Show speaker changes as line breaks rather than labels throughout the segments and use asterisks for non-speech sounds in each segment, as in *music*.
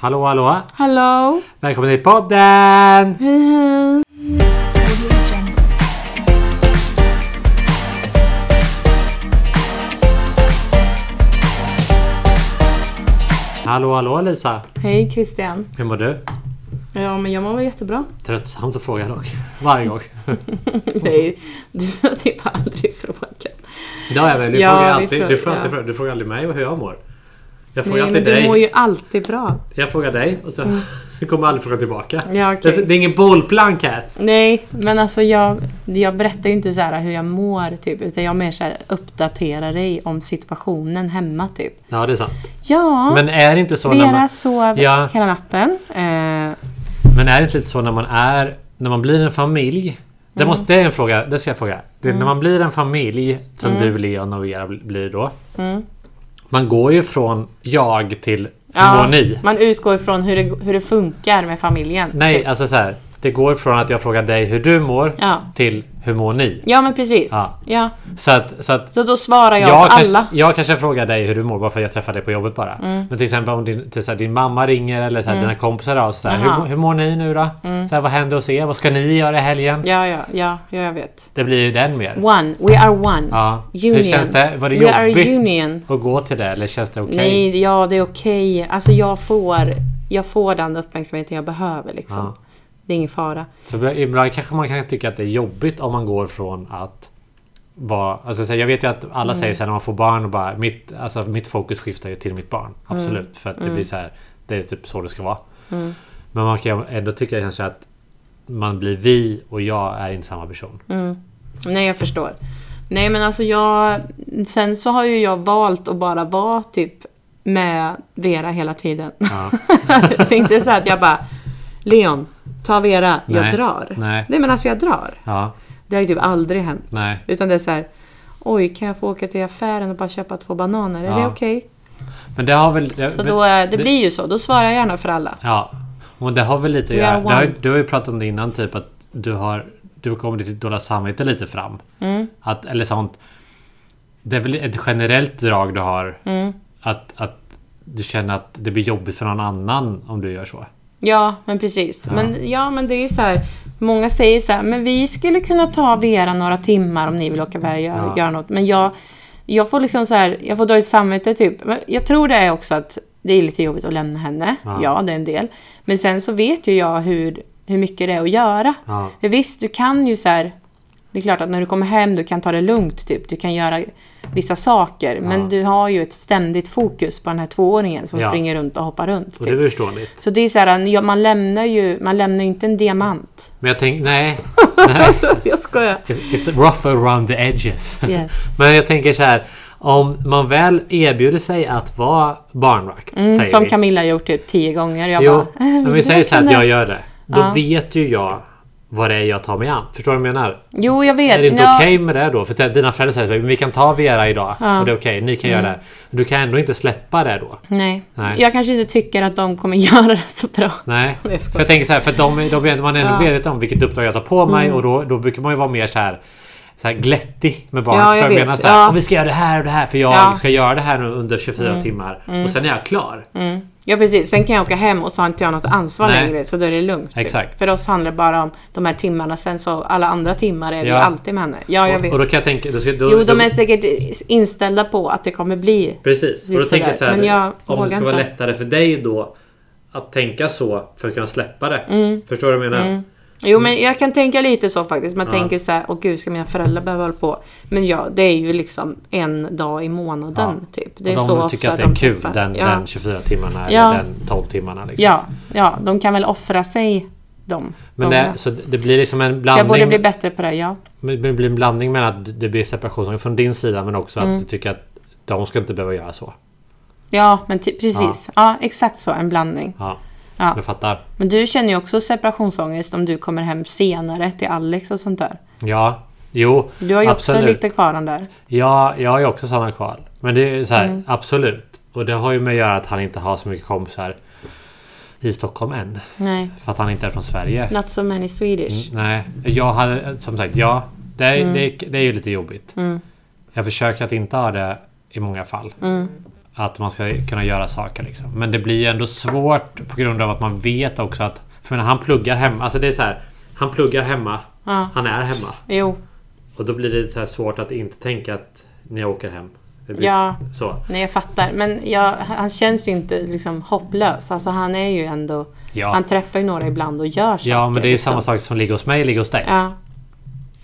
Hallå hallå!
Hallå!
Välkommen till podden!
Hej hej!
Hallå hallå Lisa!
Hej Christian!
Hur mår du?
Ja men jag mår väl jättebra?
Tröttsamt att fråga dock. Varje gång.
*laughs* Nej, du har typ aldrig frågat.
Det har jag väl. Du,
Ja,
frågar, ju alltid,
vi frågar-
du, frågar
ja.
alltid, du frågar aldrig mig hur jag mår. Jag frågar
Nej men
alltid
du mår
dig.
ju alltid bra.
Jag frågar dig och så, så kommer jag aldrig fråga tillbaka.
Ja, okej.
det, det är ingen bollplank här.
Nej men alltså jag, jag berättar ju inte så här hur jag mår typ utan jag mer så här uppdaterar dig om situationen hemma typ.
Ja det är sant.
Ja,
Men är det inte så när
Vera
man,
sov
Ja.
hela natten. Eh,
men är det inte lite så när man är... När man blir en familj. Det,
Mm.
måste, det är en fråga. Det ska jag fråga. Det, När man blir en familj som
Mm.
du, Leon och Vera bl- blir då. Man går ju från jag till
ja,
mår ni.
man utgår ifrån hur det, hur det funkar med familjen.
Nej,
Typ.
alltså så här. Det går från att jag frågar dig hur du mår
Ja.
till hur mår ni?
Ja men precis.
Ja.
Ja.
Så att, så att
Så då svarar jag,
jag,
på alla. Mm.
kanske, jag kanske frågar dig hur du mår bara för att jag träffar dig på jobbet bara. Men till exempel om din, till så här, din mamma ringer eller så här, dina kompisar av så här, hur,
Aha.
mår- hur mår ni nu då? Så här, vad händer hos er? Vad ska ni göra i helgen?
Mm. Ja, ja, ja, ja, jag vet.
Det blir ju den mer.
One, we are one.
Ja.
Union.
Hur känns det? Var det
We are
jobbigt
union.
att gå till det eller känns det okej?
Nej, ja det är okej. Alltså jag får, jag får den uppmärksamheten jag behöver liksom.
Ja.
Det är ingen fara.
För ibland kanske man kan tycka att det är jobbigt om man går från att vara... Alltså, så här, jag vet ju att alla
Mm.
säger så här när man får barn och bara... Mitt, alltså, mitt fokus skiftar ju till mitt
Mm.
barn. Absolut. För att det blir så här... Det är typ så det ska vara.
Mm.
Men man kan ju ändå tycka kanske att man blir vi och jag är inte samma person.
Mm. Nej, jag förstår. Nej, men alltså jag... Sen så har ju jag valt att bara vara typ med Vera hela tiden.
Ja.
*laughs* det är inte så att jag bara... Leon, ta Vera,
Nej.
jag drar.
Nej.
Nej, men alltså jag drar.
Ja,
Det har ju typ aldrig hänt.
nej.
Utan det är så här, oj kan jag få åka till affären och bara köpa två bananer? Är
Ja.
det okej?
Men det har väl... Det,
Så då, eh, det blir ju så, då svarar jag gärna för alla.
Ja. Och det har väl lite att
We are
göra... Det har,
one.
du har ju pratat om det innan, typ att du har... Du kommer ditt dåliga samvete lite fram.
Mm.
Att, eller sånt. Det är väl ett generellt drag du har.
Mm.
Att, att du känner att det blir jobbigt för någon annan om du gör så.
Ja, men precis. Men, ja, men det är ju så här, många säger ju så här, men vi skulle kunna ta Vera några timmar om ni vill åka iväg och göra,
Ja.
göra något. Men jag, jag får liksom så här, jag får dåligt samvete typ. Men Jag tror det är också att det är lite jobbigt att lämna henne.
Ja.
Ja, det är en del. Men sen så vet ju jag hur, hur mycket det är att göra.
Ja.
För visst, du kan ju så här, det är klart att när du kommer hem du kan ta det lugnt typ. Du kan göra vissa saker. Men du har ju ett ständigt fokus på den här tvååringen som
Ja.
springer runt och hoppar runt.
Och
typ.
det är förståeligt.
Så det är så här, ja, man lämnar ju man lämnar ju inte en diamant.
Men jag tänker, nej.
*laughs*
*laughs*
jag skojar.
It's it's rough around the edges.
Yes.
Men jag tänker så här. Om man väl erbjuder sig att vara barnvakt. säger
Mm, Som
vi.
Camilla har gjort typ tio gånger. Jag
Jo,
bara, "Äh, vill
men
du
vi säger så här att
verkligen
jag
det?"
gör det. Då
Ja.
vet ju jag vad det är jag tar mig an. Förstår du vad jag menar?
Jo, jag vet.
Är det inte
Ja,
okej med det då? För att dina föräldrar säger så här, "Men vi kan ta Vera idag och det är okej, ni kan göra det.
Mm.
här." Men du kan ändå inte släppa det då.
Nej.
Nej.
Jag kanske inte tycker att de kommer *laughs* göra det så bra.
Nej.
Det är
För
skoj.
jag tänker så här, för att de, de, är- man är ändå medveten om vilket uppdrag jag tar på mig
Mm.
och då, då brukar man ju vara mer så här så här glättig med barnet.
Ja,
Förstår
jag
du vad jag
vet.
menar? Så här,
Ja.
"Åh, Vi ska göra det här och det här för jag
Ja.
ska göra det här nu under 24 timmar. Och sen är jag klar.
Mm. Ja, precis. Sen kan jag åka hem och så har inte jag något ansvar
Nej.
längre. Så då är det lugnt. typ.
Exakt.
För oss handlar det bara om de här timmarna. Sen så alla andra timmar är vi
Ja.
alltid med henne. Ja, jag
Och,
vet.
och då kan jag tänka... Då, ska- då,
jo,
då,
de är säkert inställda på att det kommer bli...
Precis. Och då
Precis
tänker jag
sådär.
så här,
Men jag
om det ska
vågar
vara
inte.
lättare för dig då att tänka så för att kunna släppa det.
Mm.
Förstår du vad jag menar?
Jo
Mm.
men jag kan tänka lite så faktiskt. Man tänker så här, åh gud ska mina föräldrar behöva hålla på? Men ja, det är ju liksom en dag i månaden typ. Det är
och de
så
tycker
ofta
att det är
de
kul
träffar.
den,
ja.
den 24 timmarna
Ja.
eller den 12 timmarna. Liksom.
Ja, ja, de kan väl offra sig de
Men
gångerna.
det, så det blir liksom en
Så jag borde
blandning.
bli bättre på det, ja.
men Det blir en blandning mellan att det blir separation från din sida men också
Mm.
att du tycker att de ska inte behöva göra så.
Ja, men ty- precis. Ja. exakt så. En blandning.
Ja.
Ja.
Jag fattar.
Men du känner ju också separationsångest om du kommer hem senare till Alex och sånt där.
Ja. Jo,
Du har ju
absolut.
också lite kvar den där.
Ja, jag har ju också sådana kval. Men det är ju så här,
Mm.
absolut. Och det har ju med att göra att han inte har så mycket kompisar i Stockholm än.
Nej,
För att han inte är från Sverige.
not so many Swedish.
Nej, jag hade som sagt, ja. Det är,
Mm. Mm.
det, är- det är ju lite jobbigt. Jag försöker att inte ha det i många fall. Att man ska kunna göra saker liksom. Men det blir ju ändå svårt på grund av att man vet också att... För jag menar, han pluggar hemma. Alltså det är så här. Han pluggar hemma.
Ja.
Han är hemma.
Jo.
Och då blir det så här svårt att inte tänka att när jag åker hem. Det blir
Ja.
Så.
Nej, jag fattar. Men jag, han känns ju inte liksom hopplös. Alltså han är ju ändå...
Ja.
Han träffar ju några ibland och gör saker.
Ja, men det är ju
liksom.
samma sak som ligger hos mig, ligger hos dig.
Ja.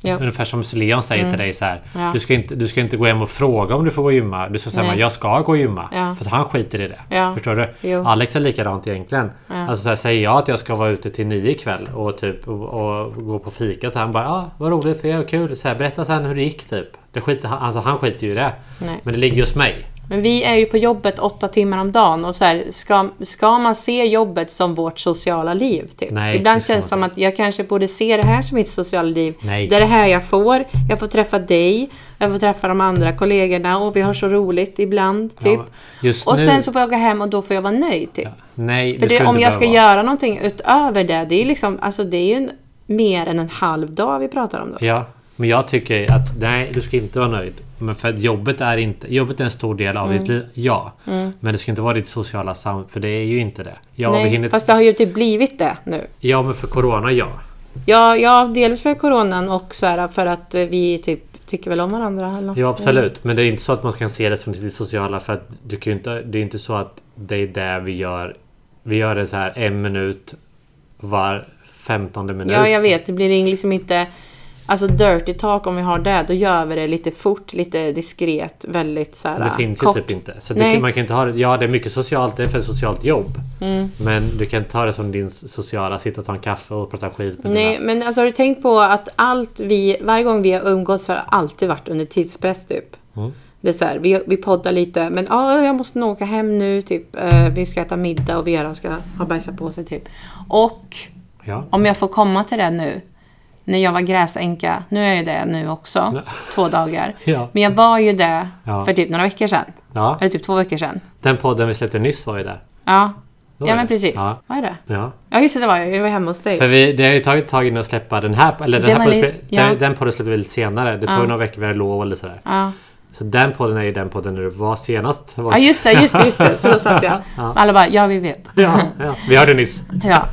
Jo.
Ungefär som Leon säger till dig så här.
Mm. Ja.
Du, ska inte, du ska inte gå hem och fråga om du får gå och gymma. Du ska säga
Nej.
bara, jag ska gå och gymma.
Ja.
För att han skiter i det.
Ja.
Förstår du?
Jo.
Alex är likadant egentligen. Alltså så här, säger jag att jag ska vara ute till nio ikväll och typ och, och gå på fika så han bara ah, vad roligt för er och kul. Så här, berätta sen hur det gick typ. Det skiter, han- alltså han skiter ju i det.
Nej.
Men det ligger ju hos mig.
Men vi är ju på jobbet åtta timmar om dagen och så här, ska, ska man se jobbet som vårt sociala liv? Typ?
Nej, det
Ibland
ska
känns det
man
som att jag kanske borde se det här som mitt sociala liv.
Nej.
Det är det här jag får. Jag får träffa dig. Jag får träffa de andra kollegorna och vi har så roligt ibland. Typ.
just
och
nu-
sen så får jag gå hem och då får jag vara nöjd. Typ.
Nej,
För
det
det,
skulle
om
inte
jag ska
behöva vara.
göra någonting utöver det, det är, liksom, alltså, det är ju en, mer än en halv dag vi pratar om då.
Ja, men jag tycker att nej, du ska inte vara nöjd. Men för att jobbet är inte... Jobbet är en stor del av
Mm.
ditt liv, ja. Men det ska inte vara ditt sociala sam... För det är ju inte det. Ja, vi
Nej,
hinner,
Fast det har ju typ blivit det nu.
ja men för corona, ja.
Ja, ja delvis för coronan och så här för att vi typ tycker väl om varandra. Eller något.
Ja, absolut. Men det är inte så att man kan se det som ditt sociala. För att du kan ju inte... Det är inte så att det är det vi gör. Vi gör det så här en minut var femtonde minut.
Ja, jag vet. Det blir liksom inte... Alltså dirty talk, om vi har det, då gör vi det lite fort, lite diskret, väldigt så här...
Det finns ju
kort.
typ inte. Så
Nej.
det, man kan inte ha det. Ja, det är mycket socialt. Det är för ett socialt jobb.
Mm.
Men du kan ta det som din sociala. Sitta och ta en kaffe och prata skit med
Nej,
dina...
men alltså har du tänkt på att allt vi, varje gång vi har umgåtts har det alltid varit under tidspress typ.
Mm.
Det är så här, vi, vi poddar lite, men ja, jag måste nog åka hem nu, typ. Eh, vi ska äta middag och Vera ska ha bajsat på sig, typ. Och
Ja.
Om jag får komma till det nu. När jag var gräsänka, nu är jag ju det nu också, två dagar.
Ja.
Men jag var ju det
Ja.
för typ några veckor sedan.
ja.
Eller typ två veckor sedan.
Den podden vi släppte nyss var ju där.
Ja,
Då
ja
är
men
det.
precis.
Ja.
Vad är det?
Ja.
Ja just det, det var jag. Jag var hemma hos
För
dig.
vi, det har ju tagit tag i att släppa den här... Eller den,
Det
här
var
podden,
li-
spe- den-
ja.
den podden släppte vi lite senare. Det tog några veckor, vi hade lov och lite sådär.
Ja.
Så den podden är ju den podden när du var senast.
ja, just det, just det, just det. Så då
*laughs*
satt jag. Alla bara, ja vi vet.
ja, ja. Vi hörde nyss.
Ja,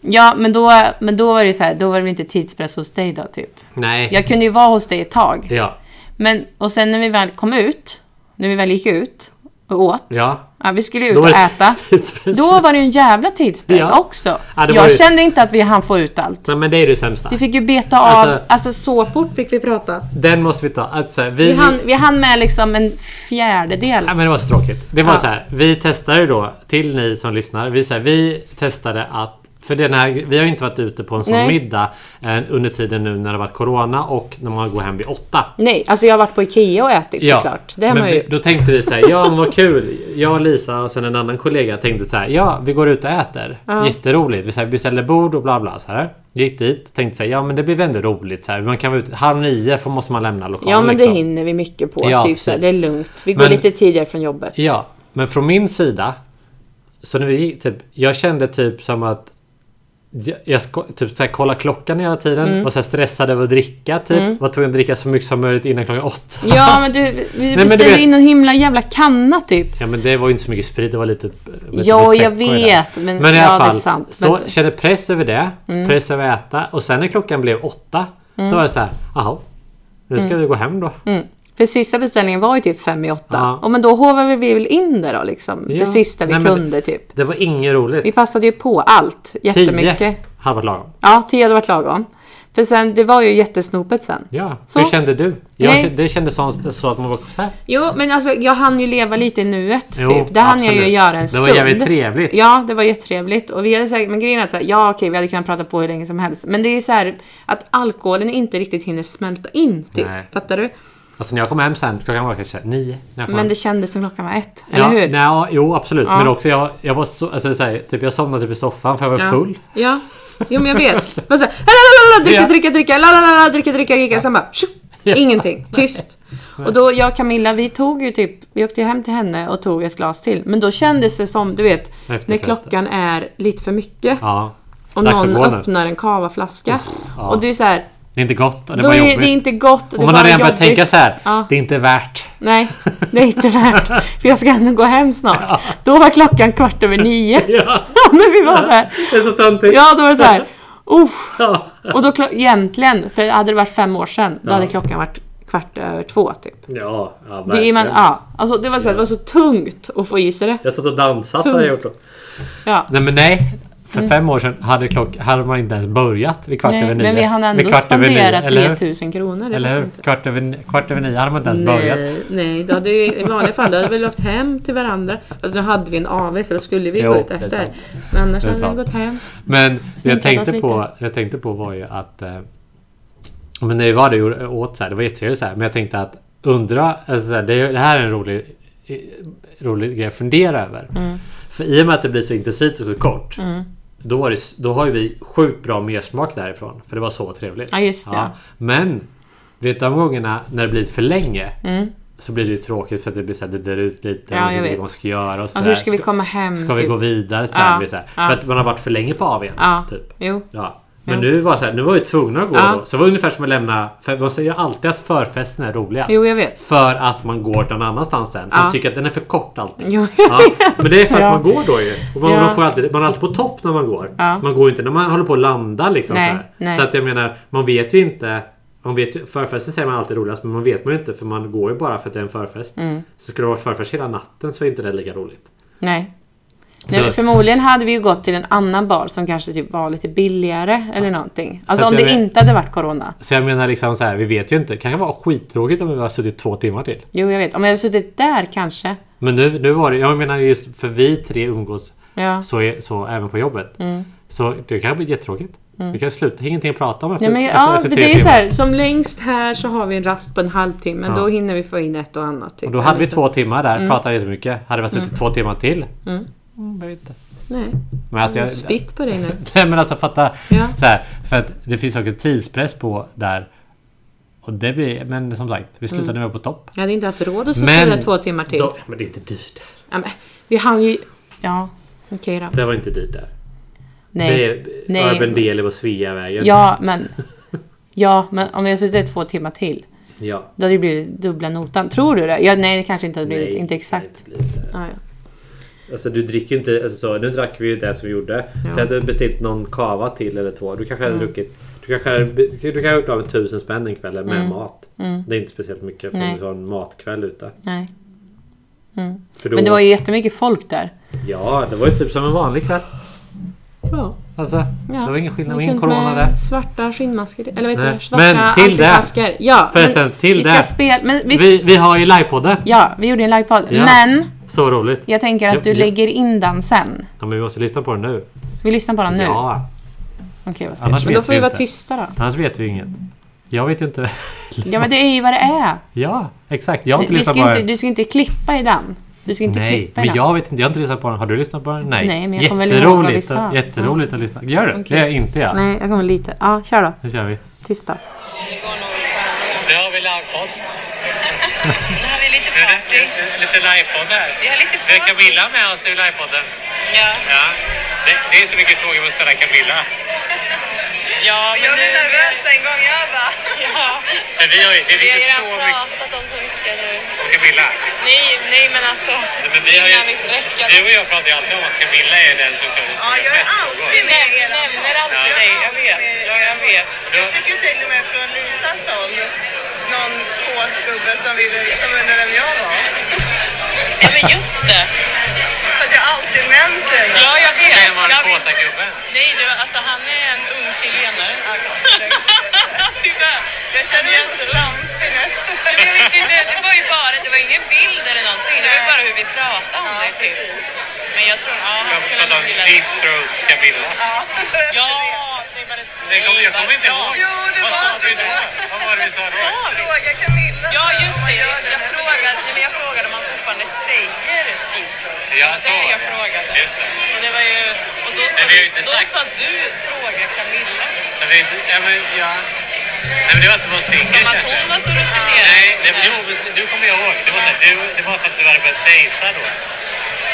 ja men, då, men då var det så här, då var det väl inte tidspress hos dig då typ.
Nej.
Jag kunde ju vara hos dig ett tag.
Ja.
Men, och sen när vi väl kom ut, när vi väl gick ut och åt.
Ja.
Ja, vi skulle ju ut
Då
och
var det
äta.
tidspress.
Då var det ju en jävla tidspress
Ja.
också.
Ja, det var
jag
ju-
kände inte att vi hann få ut allt.
Nej *laughs* men det är det sämsta.
Vi fick ju beta av,
Alltså-
alltså, så fort fick vi prata.
Den måste vi ta. Alltså, vi,
Vi hann, vi hann med liksom en fjärdedel.
Ja, men det var så tråkigt. Det var
Ja.
så här. Vi testade då, till ni som lyssnar. Vi, så här, vi testade att för den här, vi har ju inte varit ute på en sån
Nej.
middag eh, under tiden nu när det har varit Corona och när man går hem vid åtta.
Nej, alltså jag har varit på IKEA och ätit såklart. Det har
men
man
vi,
ju.
då tänkte vi så här, ja men vad kul. Jag och Lisa och sen en annan kollega tänkte så här, ja vi går ut och äter. Jätteroligt. Vi så här, beställer bord och bla bla. Så här. Gick dit, tänkte så här, ja men det blir väl ändå roligt. Så här. Man kan vara ute, halv nio får, måste man lämna lokalen.
Ja men det
liksom.
hinner vi mycket på.
Ja,
typ så här, det
precis.
är lugnt. Vi går
Men-
lite tidigare från jobbet.
Ja, men från min sida. Så när vi gick, typ, jag kände typ som att jag, jag sko- typ såhär, kolla klockan hela tiden.
Mm.
Var såhär stressad över att dricka. Typ. Var tvungen att dricka så mycket som möjligt innan klockan åtta.
Ja men du, vi
men du
beställer
vet-
in en himla jävla kanna typ.
Ja men det var ju inte så mycket sprit, det var lite... lite
Ja,
prosecco
jag
i det.
vet, men-
i
ja,
alla
det är
fall,
sant.
Så
Men- Mm.
kände press över det. Press över att äta. Och sen när klockan blev åtta. Så var det så här, jaha. Nu
Mm.
ska vi gå hem då.
För sista beställningen var ju typ fem i åtta.
Mm. Ja.
Och men då hovade vi väl in det då liksom.
Ja.
Det sista vi
Nej, men-
kunde typ.
Det var inget roligt.
Vi passade ju på allt jättemycket.
Tio hade varit lagom.
Ja, tio hade varit lagom. För sen, det var ju jättesnopet sen.
Ja.
Så.
Hur kände du? Jag,
Nej.
kände- det kändes så, så att man var så här.
Jo, men alltså jag hann ju leva lite i nuet.
Jo,
typ. Det hann jag ju
absolut.
göra en
Det
stund.
var jävligt trevligt.
Ja, det var jättetrevligt. Och vi hade säkert, men grejen är att så här, ja okej, vi hade kunnat prata på hur länge som helst. Men det är ju så här att alkoholen inte riktigt hinner smälta in. Typ.
Nej.
Fattar du?
Alltså när jag kom hem sen, klockan var kanske nio. När jag kom
Men
hem.
det kändes som klockan var ett.
ja,
eller hur?
Nej, ja, jo absolut. Men också jag, jag var så, alltså, så här, typ, jag somnade typ i soffan för jag var
Ja.
full.
Ja. Jo men jag vet. Man säger lalalala, dricka,
Ja.
dricka, dricka, lalalala, dricka, dricka, dricka. Sen bara tju,
Ja.
ingenting. Tyst. Och då jag och Camilla, vi tog ju typ, vi åkte ju hem till henne och tog ett glas till. Men då kändes det som, du vet, när
Efterfesten.
klockan är lite för mycket.
Ja.
Om
Dags att
någon
gå nu.
öppnar en kavaflaska.
ja.
Och det är så här,
Det är inte gott och det
Då
är bara
är
jobbigt.
det inte gott. Det
och
är
man
bara
har redan börjat
jobbigt.
tänka så här.
Ja.
Det är inte
*laughs*
värt.
Nej, det är inte värt. För jag ska ändå gå hem snart.
Ja.
Då var klockan kvart över nio. *laughs*
Ja,
när vi var där.
det är så töntigt.
Ja, då var det så här. Uff.
Ja.
Och då klo- egentligen, för hade det varit fem år sedan, då hade klockan varit kvart över två typ.
Ja, ja
Det, är man,
verkligen.
ja, alltså, det, var så, här, det var så tungt att få i sig det.
Jag har stått och dansat
Tungt.
har jag gjort. då.
Ja. Mm.
Nej men nej. För fem år sedan hade, klock, hade man inte ens börjat vid kvart
Nej,
över nio.
men vi hann
Vid
ändå
kvart över nio,
spendera
eller hur?
3000 kronor. det
Eller
vet
hur?
jag inte.
Kvart över, kvart över nio hade man inte ens börjat.
Nej, nej då hade ju, i vanliga fall då hade vi åkt hem till varandra. Alltså, nu hade vi en AW så då skulle vi
Jo,
gå ut
det är
efter.
sant.
Men annars
Det är
hade vi
sant.
gått hem.
Men det jag
Sminkat
tänkte,
oss
på,
lite.
det jag tänkte på var ju att... Eh, men det var det jag åt så här, det var jättetrevligt så här. Men jag tänkte att undra... Alltså så här, det, det här är en rolig, eh, rolig grej att fundera över.
Mm.
För i och med att det blir så intensivt och så kort. Då, var det, s- då har ju vi sjukt bra mersmak därifrån. För det var så trevligt.
Ja, just det.
Men vet du, de gångerna när det blir för länge. Så blir det ju tråkigt för att det blir så här, det dör ut lite.
Mm. Ja,
man vet
jag
inte
vet.
vad man ska göra och så
Ja,
där.
hur ska vi komma hem?
Ska vi
typ?
gå vidare sen?
Ja,
blir Så här.
ja.
För att man har varit för länge på AWn.
Ja.
Typ.
Jo.
Ja. Men nu var så här, nu var vi tvungna att gå
Ja.
då. Så det var ungefär som att lämna... För man säger ju alltid att förfesten är roligast.
jo, jag vet.
För att man går någon annanstans sen. För
Ja.
Man tycker att den är för kort
*laughs*
alltid.
Jo.
Ja. Men det är för att
Ja.
man går då ju. Och man,
Ja.
man, får alltid, man är alltid på topp när man går.
Ja.
Man går ju inte när man håller på att landa liksom.
Nej,
så, här.
nej.
så att jag menar, man vet ju inte... Man vet, ju- förfesten säger man alltid är roligast, men man vet man ju inte för man går ju bara för att det är en förfest.
Mm.
Så skulle det vara förfest hela natten så är inte det lika roligt.
Nej.
Så-
Nej, förmodligen hade vi ju gått till en annan bar som kanske typ var lite billigare eller någonting. Alltså
att
om det
jag vet-
inte hade varit corona.
Så jag menar liksom så här, vi vet ju inte. Det kanske var skittråkigt om vi hade suttit två timmar till.
Jo, jag vet. Om jag hade suttit där kanske.
Men nu, nu var det, jag menar just för vi tre umgås
Ja.
så, är, så även på jobbet.
Mm.
Så det kan bli jättetråkigt. Vi kan sluta, ingenting att prata om efter,
Nej, men,
efter,
Mm. ja,
efter
för
tre
det är ju så
timmar.
här, som längst här så har vi en rast på en halvtimme.
Ja.
Då hinner vi få in ett och annat. Typ.
Och då hade vi
Eller så-
två timmar där, pratade jättemycket. Hade vi suttit två timmar till?
Mm.
Mm, jag vet inte.
Nej,
Men alltså, jag,
spitt på dig nu.
*laughs* nej men alltså fatta.
Ja.
Så här, för att det finns också tidspress på där. Och det blir, men som sagt, vi slutade med på topp.
Jag hade inte haft råd att sitta
Men-
där två timmar Mm. till.
Då, men det är inte dyrt.
Ja, men, vi hann ju... Ja, okej då.
Det var inte dyrt där.
Nej.
Det
Nej.
är Urban Deli och Sveavägen.
Ja, men... Ja, men om vi hade suttit två timmar till.
Ja.
Då hade det blivit dubbla notan. Tror du det? Ja, nej, det kanske inte hade blivit.
Nej,
inte
det
exakt.
hade inte blivit det.
Ah, ja.
Alltså du dricker ju inte... Alltså, så, nu drack vi ju det som vi gjorde.
Ja.
Så jag hade beställt någon kava till eller två. Du kanske hade druckit... Du kanske hade, du kanske hade gjort av med tusen spänn den kvällen med mat. Det är inte speciellt mycket för
Mm. Nej.
att ha en matkväll ute.
Nej.
För då,
Men det var ju jättemycket folk där.
Ja, det var ju typ som en vanlig kväll.
Ja.
Alltså, det var ingen skillnad. Det var ingen
Gick runt
corona
med
där.
Svarta skinnmasker. Eller vad heter
Nej.
det? Svarta
Men till det.
ansiktsmasker. Ja, men
Förresten, till
vi
det.
ska spela. Men vi,
Vi, vi har ju livepodden.
Ja, vi gjorde en livepodd.
Ja.
Men
Så roligt.
jag tänker att
Ja,
du
ja.
lägger in den sen.
Ja, men vi måste lyssna på den nu.
Ska vi lyssna på den nu?
Ja,
Okej, vad
Annars
stelt. Men då
vet
får vi
vi
vara
inte.
tysta
*laughs*
då.
annars vet vi ju inget. Jag vet ju inte. *laughs*
Ja, men det är ju vad det är.
ja, exakt. Jag har
Du,
inte
vi
lyssnat
ska
på
inte,
den.
du ska inte klippa i den. Du ska inte
Nej,
klippa i
men
den.
jag vet inte. Jag har inte lyssnat på den. Har du lyssnat på den? Nej.
Nej, men jag kommer väl ihåg vad vi sa.
att- Jätteroligt att lyssna. Gör du? Det
Okej.
gör inte jag.
Nej, jag kommer lite. Ja, kör då.
Nu kör vi.
Tysta.
Nu har vi livepodd.
Nu har vi lite party.
Lite livepodd här.
Vi har lite party.
med oss i livepodden.
Ja,
Ja. Det, är så mycket frågor man ställa Camilla.
ja men
Jag blev
nu...
nervös en gång. Jag bara... *laughs*
Ja,
Men vi har ju... Det
vi har ju redan pratat om så mycket nu.
Camilla.
Nej, nej men alltså.
Men
Innan vi bräcker.
och jag pratar ju alltid om att Camilla är den som ska...
Ja, jag är alltid med i
Jag
era
nämner alltid dig, jag vet. Ja, jag vet.
Jag fick ju till och med från Lisas håll någon kåt gubbe som, ville, som undrade vem jag var.
Ja, men just det.
För att jag alltid nämns redan.
Ja, jag vet. Jag vet.
gubben?
Nej, du, alltså han är en ung chilenare.
*laughs*
Tyvärr.
Jag känner mig så slampig nu.
Men jag vet inte, det var ju bara, det var ingen bild eller någonting. Det var ju bara hur vi pratade om det typ. Men jag tror, ja han skulle nog gilla det.
throat Camilla.
Ja.
Ja, det var det.
Jo, det
Vad
var
sa vi
det då.
Vad var det vi sa
Sa vi?
Fråga Camilla.
Ja,
sen om
just
man
det.
gör
Jag frågade, nej, men jag frågade om man fortfarande säger deep throat.
Ja,
det
så
var det
var
jag
det.
frågade.
Just det.
Och det var ju... Och då sa,
Nej, vi har ju inte
då
sagt-
sa du fråga Camilla.
Jag vet inte, ja men ja. Nej men det var att du var singel
Som att
kanske.
hon var så rutinerad.
Nej, nej men jo, precis, nu kommer jag ihåg. Det var, så här, du, det var för att du hade börjat dejta då.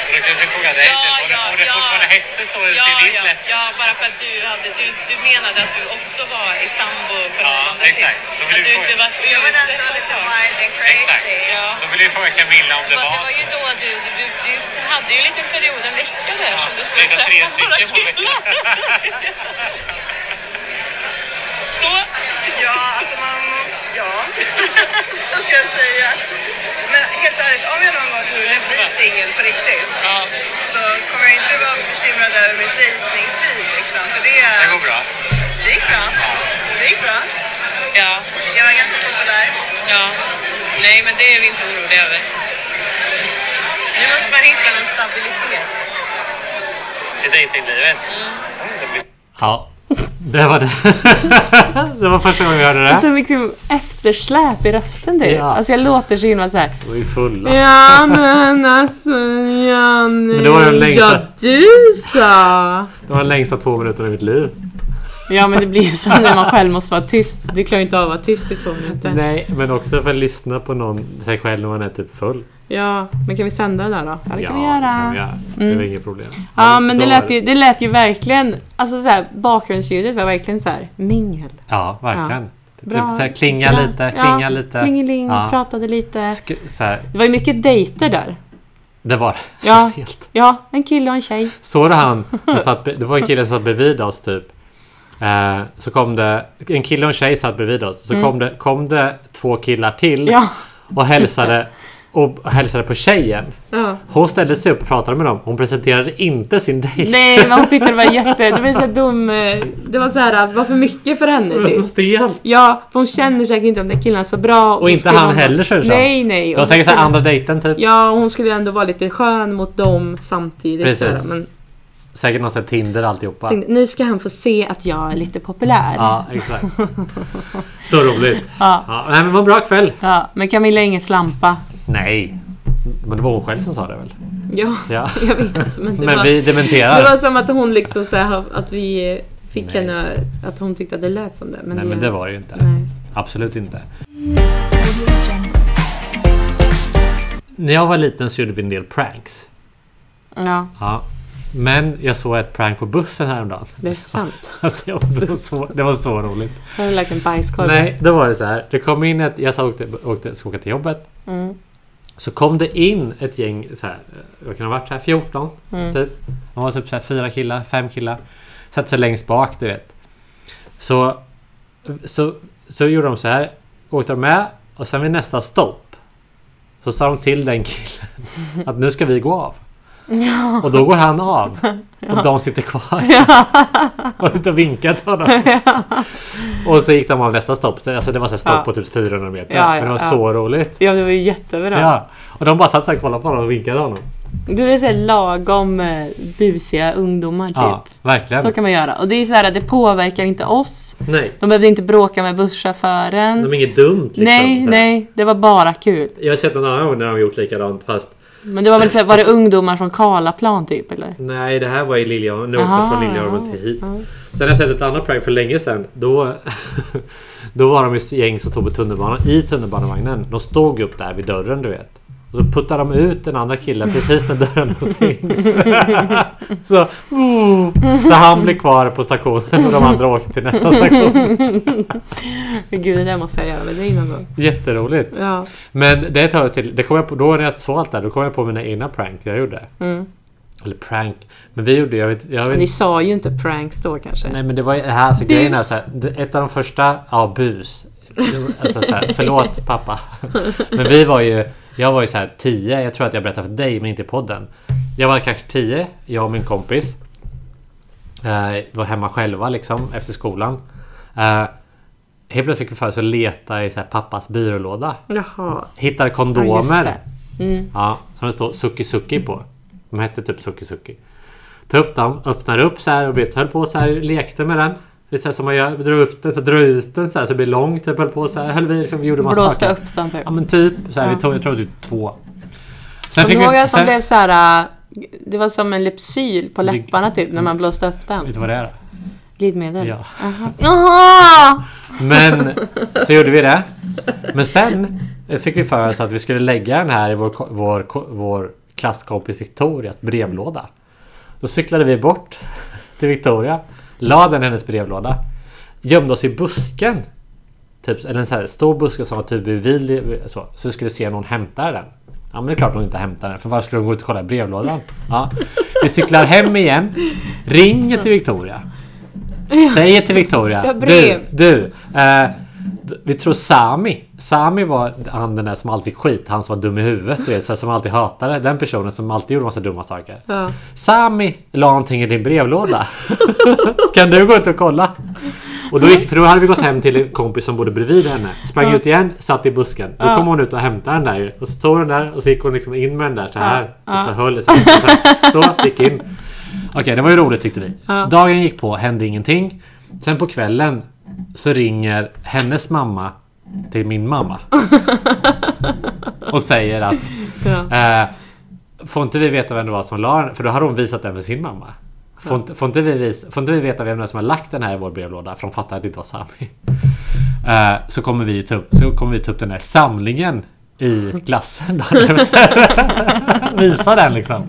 Och då kanske jag frågar dig
Ja,
typ, om det-
ja,
om det
ja.
fortfarande hette så ute i
Ja, ja,
vimlet.
ja, bara för att du, hade, du, du menade att du också var i samboförhållande.
Ja, exakt. Då vill
Att
vi
du
få-
inte varit
Jag var den
ute
som
på
var
ett
alltså, lite
tag.
wild and crazy.
Exakt.
Ja.
Då vill jag fråga Camilla om det
Men
var
det var ju
så.
då du, du, du, du hade ju en liten period, en vecka där som du skulle
lite
träffa
tre
några
stycken på
killar.
*laughs*
Så,
Ja, alltså man... Ja. *laughs* Så ska jag säga. Men helt ärligt, om jag någon gång skulle bli singel på riktigt
ja,
så kommer jag inte vara bekymrad över mitt dejtningsliv liksom. För det...
Det går bra.
Det gick bra. Det gick bra.
ja,
Jag var ganska populär.
ja. Nej, men det är vi inte oroliga över. Nu måste man hitta någon stabilitet.
I dejtinglivet.
Mm.
Det blir-
Ja, *laughs* det var det. *laughs* det var första gången vi hörde
Så
det.
mycket Alltså, typ eftersläp i rösten du.
Ja.
Alltså jag låter så himla såhär.
Vi är fulla.
Ja men alltså Janni.
Men det var ju länge
Ja
sedan.
du sa.
Det var den längsta två minuter i mitt liv.
Ja men det blir ju så när man själv måste vara tyst. Du klarar ju inte av att vara tyst i två minuter.
Nej, men också för att lyssna på någon, sig själv när man är typ full.
Ja, men kan vi sända det där då? Ja det kan vi göra.
kan
Mm.
vi göra. Det var inget problem.
Ja men
så
det
var
lät, ju, det lät ju verkligen, alltså så här, bakgrundsljudet var verkligen så här mingel.
Ja, verkligen.
Ja.
Typ så här, klinga
bra.
lite, klinga
ja,
lite.
Klingeling,
Ja.
pratade lite.
Sk- så här,
Det var ju mycket dejter där.
det var *laughs* det. Så
Ja.
stelt.
Ja, en kille och en tjej.
Såg du han? Han Satt, det var en kille som satt bredvid oss typ. Eh, så kom det... En kille och en tjej satt bredvid oss. Så kom, det, kom det två killar till
Mm. Ja.
och, hälsade, och hälsade på tjejen.
Ja.
Hon ställde sig upp och pratade med dem. Hon presenterade inte sin dejt.
Nej, men hon tyckte det var jätte... Det var så här dum... eh, Det var så här, det var för mycket för henne
Det var så
typ.
stelt.
Ja, för hon känner säkert inte de där killarna så bra.
Mm. Och
så
inte
skulle
han
hon-
heller känner jag.
Nej, nej.
Det
och
var
så
säkert så här
skulle-
andra dejten typ.
Ja, och hon skulle ändå vara lite skön mot dem samtidigt.
Precis.
så här, Men
Säkert någon sån här Tinder alltihopa.
tänkte, nu ska han få se att jag är lite populär.
Ja, exakt. Så roligt.
*laughs* Ja.
nej, men vad bra kväll.
Ja, men Camilla är ingen slampa.
Nej. Men det var hon själv som sa det väl?
Ja,
Ja.
*laughs* jag vet. Men det,
Men
var,
vi dementerar.
det var som att hon liksom så här, att vi fick
Nej.
henne att hon tyckte att det lät som det. Men
Nej,
det,
men det var det ju inte.
Nej.
Absolut inte. När jag var liten så gjorde vi en del pranks.
Ja,
Ja. Men jag såg ett prank på bussen häromdagen.
det är sant.
*laughs* Alltså, jag, det, var så, det var så roligt.
Jag har lagt en bajskorv.
Nej, då var det så här. Det kom in ett... Jag sa, åkte, åkte, ska åka till jobbet. Så kom det in ett gäng så här. Jag kan ha varit så här 14 typ. De var typ så här fyra killar, fem killar. Satte sig längst bak, du vet. Så, så, så gjorde de så här. Åkte de med och sen vid nästa stopp. Så sa de till den
*laughs*
killen att nu ska vi gå av. Och då går han
*laughs*
av. Och de sitter kvar. *laughs* Och inte vinkat
*laughs*
honom. Och så gick de av nästa stopp. Så- Alltså det var så här stopp
Ja.
på typ 400 meter.
Ja, ja,
Men det var
ja.
så roligt.
Ja, det var ju jättebra.
Ja. Och de bara satt så här och kollade på honom och vinkade honom.
Det är så här lagom eh, busiga ungdomar typ.
Ja, verkligen.
Så kan man göra. Och det är så här att det påverkar inte oss.
Nej.
De behövde inte bråka med busschauffören.
De är inget dumt liksom.
nej,
Så här.
nej. Det var bara kul.
Jag har sett en annan gång när de har gjort likadant fast
Men det var väl så här, var det ungdomar från Karlaplan typ eller?
Nej, det här var i Liljeholmen. Nu åkte
Aha,
jag från Liljeholmen till hit. Sen har jag sett ett annat prank för länge sedan. Då, *laughs* då var de ett gäng som stod på tunnelbanan. I tunnelbanevagnen. De stod upp där vid dörren, du vet. Och då puttade de ut den andra killen precis när dörren
*laughs*
stängdes. så, så han blev kvar på stationen och de andra åkte till nästa station.
Men *laughs* Gud, det där måste jag göra med dig någon gång.
Jätteroligt.
Ja.
Men det tar jag till. Det kom jag på, då när jag såg allt där, då kom jag på mina egna prank jag gjorde. Eller prank. Men vi gjorde, jag vet, jag vet
Mm. Ni sa ju inte pranks då kanske.
Nej men det var ju här alltså,
Bus.
grejen är så här, det- Ett av de första, ja bus. Alltså, så här, förlåt pappa. Men vi var ju, jag var ju så här 10, jag tror att jag berättade för dig men inte i podden. Jag var kanske 10, jag och min kompis. Eh, var hemma själva liksom efter skolan. Eh, helt plötsligt fick vi för oss att leta i så här, pappas byrålåda.
Jaha.
Hittade
Ja, just
kondomer.
det. Mm.
Ja, som det står Suki Suki på. De hette typ Suki Suki. Ta upp dem, öppnade upp så här och vet, höll på så här, lekte med den. Det är så här som man gör, vi drog upp den, så drog ut den så här så det blir långt. Typ, höll på så här, höll vi liksom, vi gjorde massa
Blåste
saker.
upp den typ.
Ja men typ så här, vi tog, jag tror typ två. Sen
Kommer du ihåg att
sen,
man blev så här. äh, Det var som en Lypsyl på läpparna typ när man blåste upp
Vet
den.
du vad det är? då?
Glidmedel.
Ja. *laughs*
Jaha!
Men så gjorde vi det. Men sen fick vi för oss att vi skulle lägga den här i vår, ko- vår, ko- vår klasskompis Victorias brevlåda. Då cyklade vi bort till Victoria. La den i hennes brevlåda. Gömde oss i busken. Typ, eller en så här stor buske som var typ bredvid. Så, så vi skulle se någon hämta den. Ja men det är klart hon inte hämtar den. För varför skulle hon gå ut och kolla i brevlådan? Ja. Vi cyklar hem igen. Ringer till Victoria. Säger till Victoria.
Jag har brev.
Du, du. Eh, d- vi tror Sami. Sami var han den där som alltid fick skit. Han som var dum i huvudet. Du vet, så här, som alltid hatade. Den personen som alltid gjorde massa dumma saker.
Ja.
Sami la någonting i din brevlåda. *laughs* kan du gå ut och kolla? Och då gick, för då hade vi gått hem till en kompis som bodde bredvid henne. Sprang ut igen, satt i busken. Då kom hon ut och hämtade den där ju. Och så tog hon den där och så gick hon liksom in med den där så här. Typ så här höll i sig. så, här. så gick in. Okej, det var ju roligt tyckte vi. Dagen gick på, hände ingenting. Sen på kvällen så ringer hennes mamma till min mamma. och säger att
Ja.
Eh, får inte vi veta vem det var som la den? För då har hon visat den för sin mamma. Får, inte, får, inte vi visa, får inte vi veta vem det är som har lagt den här i vår brevlåda? För de fattar att det inte var Sami. Eh, så, kommer vi ta upp, så kommer vi ta upp den här samlingen i glassen dagen efter. *laughs* Visa den liksom.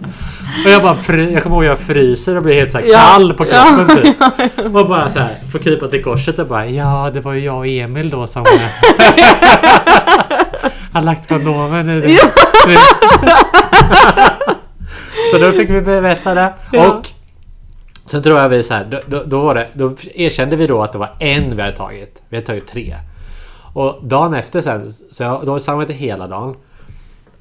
Och jag bara fry, jag kommer ihåg jag fryser och blir helt så här
Ja.
kall på
*laughs* Ja.
kroppen typ. Och bara så här, får krypa till korset och bara ja det var ju jag och Emil då
*laughs*
som... *laughs* eh, har lagt kondomen i det. Så då fick vi veta det.
*laughs* Ja.
Och sen tror jag vi så här, då, då, då, var det, då erkände vi då att det var en vi hade tagit. Vi hade tagit tre. Och dagen efter sen, så jag, då samlade jag hela dagen.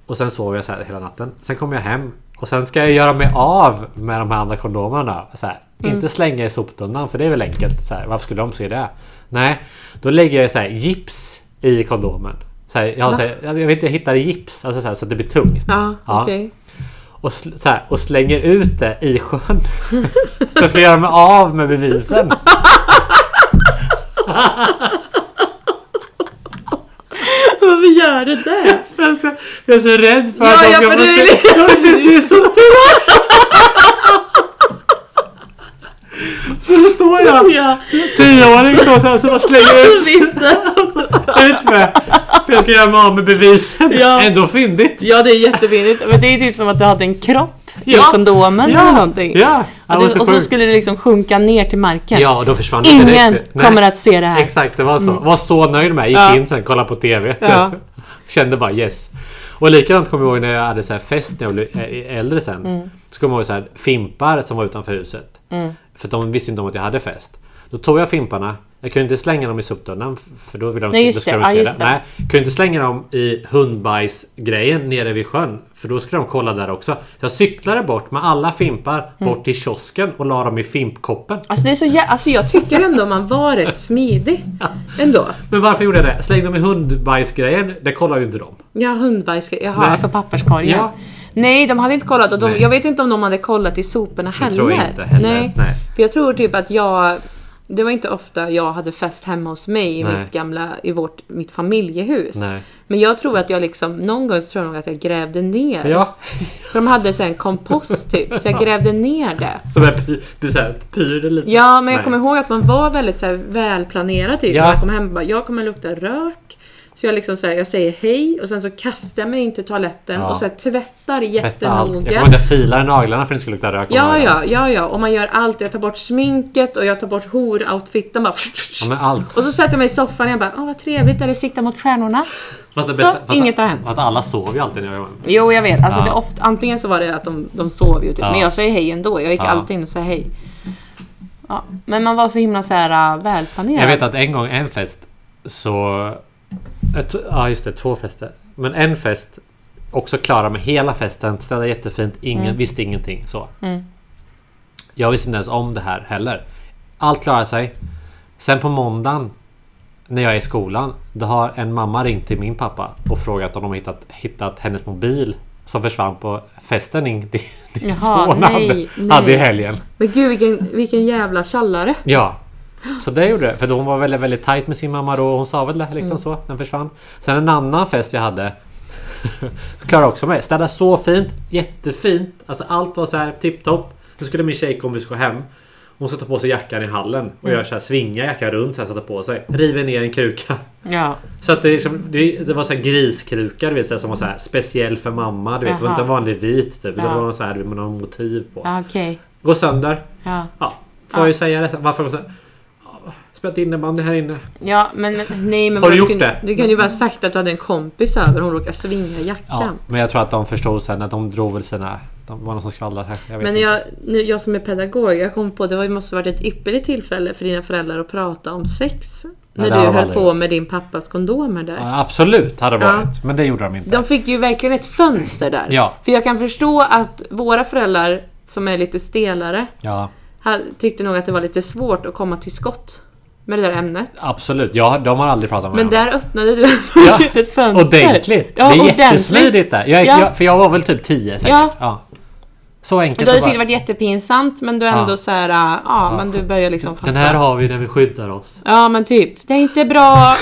Och sen sov jag så här hela natten. Sen kom jag hem. Och sen ska jag göra mig av med de här andra kondomerna. Så här,
Mm.
Inte slänga i soptunnan för det är väl enkelt. Så här, varför skulle de se det? Nej, då lägger jag så här, gips i kondomen. Så här, jag, har så här, jag vet inte, jag hittade gips alltså så, här, så att det blir tungt.
Ja, okej. *laughs*
och, sl- så här, och slänger ut det i sjön. *laughs* För jag ska göra mig av med *laughs* bevisen.
Varför gör du *laughs* det?
Jag är så- jag är så rädd för
Ja,
att de
ja,
ska få
för det är
se- Jag vill inte se soptunnan! *laughs* Så då står jag
Ja,
tioåring då så här, så bara slänger ut,
vifta, alltså.
ut med. För jag ska göra mig av med bevisen.
Ja.
Ändå fyndigt!
*laughs* ja, det är jättevinnigt. Men det är typ som att du hade en kropp
Ja.
i kondomen eller någonting.
ja.
Och,
Det var
det, och så
sjukt.
skulle det liksom sjunka ner till marken.
Ja, och då försvann det
Ingen
direkt. Nej.
kommer att se det här. Mm.
Exakt, det var så. Var så nöjd med. Gick
Ja.
in sen, kollade på TV.
Ja.
*laughs* Kände bara yes. Och likadant kommer jag ihåg när jag hade så här fest när jag blev ä- äldre sen.
Mm.
Så kommer jag ihåg så här, fimpar som var utanför huset. För de visste inte om att jag hade fest. Då tog jag fimparna. Jag kunde inte slänga dem i soptunnan f- för då ville de
Nej,
se-
just
då skulle
det.
de
Ja,
se
just det.
Nej, jag kunde inte slänga dem i hundbajsgrejen nere vid sjön. För då skulle de kolla där också. Så jag cyklade bort med alla fimpar
Mm.
bort till kiosken och la dem i fimpkoppen.
Alltså, det är så jä- alltså jag tycker ändå man var rätt smidig. Ändå.
Men varför gjorde jag det? Slängde dem i hundbajsgrejen? Det kollar ju inte de.
Ja, hundbajs. Jaha,
Nej.
alltså papperskorgen.
Ja.
Nej, de hade inte kollat. Och de,
Nej.
jag vet inte om de hade kollat i soporna heller.
tror jag inte heller.
Nej.
Nej.
För jag tror typ att jag... Det var inte ofta jag hade fest hemma hos mig i
Nej.
mitt gamla, i vårt, mitt familjehus.
Nej.
Men jag tror att jag liksom, någon gång tror jag nog att jag grävde ner.
Ja.
För de hade så här en kompost typ, så jag grävde ner det.
*laughs* Som är py, py, så här, pyr lite.
Ja, men jag
Nej.
kommer ihåg att man var väldigt så här, välplanerad typ.
Ja.
När jag kom hem och bara, jag kommer lukta rök. Så jag liksom så här, jag säger hej och sen så kastar jag mig in till toaletten
Ja.
och så här, tvättar
Tvätta allt. Jag kommer
jättenoga.
ihåg att jag filade naglarna för att det skulle lukta rök om
Ja,
öronen.
ja, ja, ja. Och man gör allt. Jag tar bort sminket och jag tar bort horoutfiten bara.
Ja, men allt.
Och så sätter jag mig i soffan och jag bara, åh vad trevligt, eller sikta mot stjärnorna.
Fast det
Så, inget har hänt.
Fast alla sov ju alltid när jag var hemma.
Jo, jag vet. Alltså,
Ja.
det är ofta, antingen så var det att de, de sov ju, typ.
Ja.
men jag sa ju hej ändå. Jag gick
Ja.
alltid in och sa hej. Ja. Men man var så himla så här, äh, välplanerad.
Jag vet att en gång, en fest, så... ett- Ja, just det. Två fester. Men en fest, också klara med hela festen, städade jättefint, ingen,
Mm.
visste ingenting. Så. Jag visste inte ens om det här heller. Allt klarar sig. Sen på måndagen, när jag är i skolan, då har en mamma ringt till min pappa och frågat om de har hittat, hittat hennes mobil som försvann på festen din, din
Jaha,
son hade,
nej, nej.
hade i helgen.
Men gud vilken, vilken jävla tjallare.
Ja. Så det gjorde det. För då hon var väldigt, väldigt tajt med sin mamma då. Hon sa väl det liksom
Mm.
så. Den försvann. Sen en annan fest jag hade. *laughs* så klarade jag också mig. Städade så fint. Jättefint. Alltså allt var så här tipptopp. Så skulle min tjejkompis gå hem. Hon ska ta på sig jackan i hallen och
Mm.
gör så här, svingar jackan runt så här så att ta på sig. River ner en kruka. *laughs*
Ja.
Så att det, är liksom, det, det var så här griskruka du vet, så här, som var så här, speciell för mamma. Du vet, det var
Jaha.
inte en vanlig vit typ. Utan
Ja.
det var någon så här, med någon motiv på.
Ja, Okej.
Gå sönder.
Ja.
Ja, får jag ju säga det. Varför går sönder? Ja, Spelat innebandy här inne.
ja, men, men nej men...
Har
vad
du gjort
kunde,
det?
Du kunde ju bara sagt att du hade en kompis över och hon råkade svinga
Ja,
jackan.
men jag tror att de förstod sen att de drog väl sina... De var någon som skvallrade här. Jag vet
Men
inte.
jag, nu, jag som är pedagog, jag kom på det var- det måste varit ett ypperligt tillfälle för dina föräldrar att prata om sex.
det
När
har de
du höll
aldrig
på
gjort.
med din pappas kondomer där.
Ja, absolut hade det
Ja.
varit. Men det gjorde de inte.
De fick ju verkligen ett fönster där.
Ja.
För jag kan förstå att våra föräldrar, som är lite stelare,
Ja,
ha- tyckte nog att det var lite svårt att komma till skott med det där ämnet.
absolut. Ja, de har aldrig pratat med
Men
varandra.
där öppnade du ett *laughs*
Ja,
litet fönster.
Ordentligt!
Ja,
det är
ordentligt.
jättesmidigt där. Jag,
Ja.
jag, för jag var väl typ 10 säkert.
Ja.
Ja. Så enkelt.
Du hade
att bara-
tyckt det varit jättepinsamt men du är ändå
Ja.
så här, äh, ja, men du börjar liksom fatta.
Den här har vi när vi skyddar oss.
Ja men typ, det är
*laughs*
inte bra,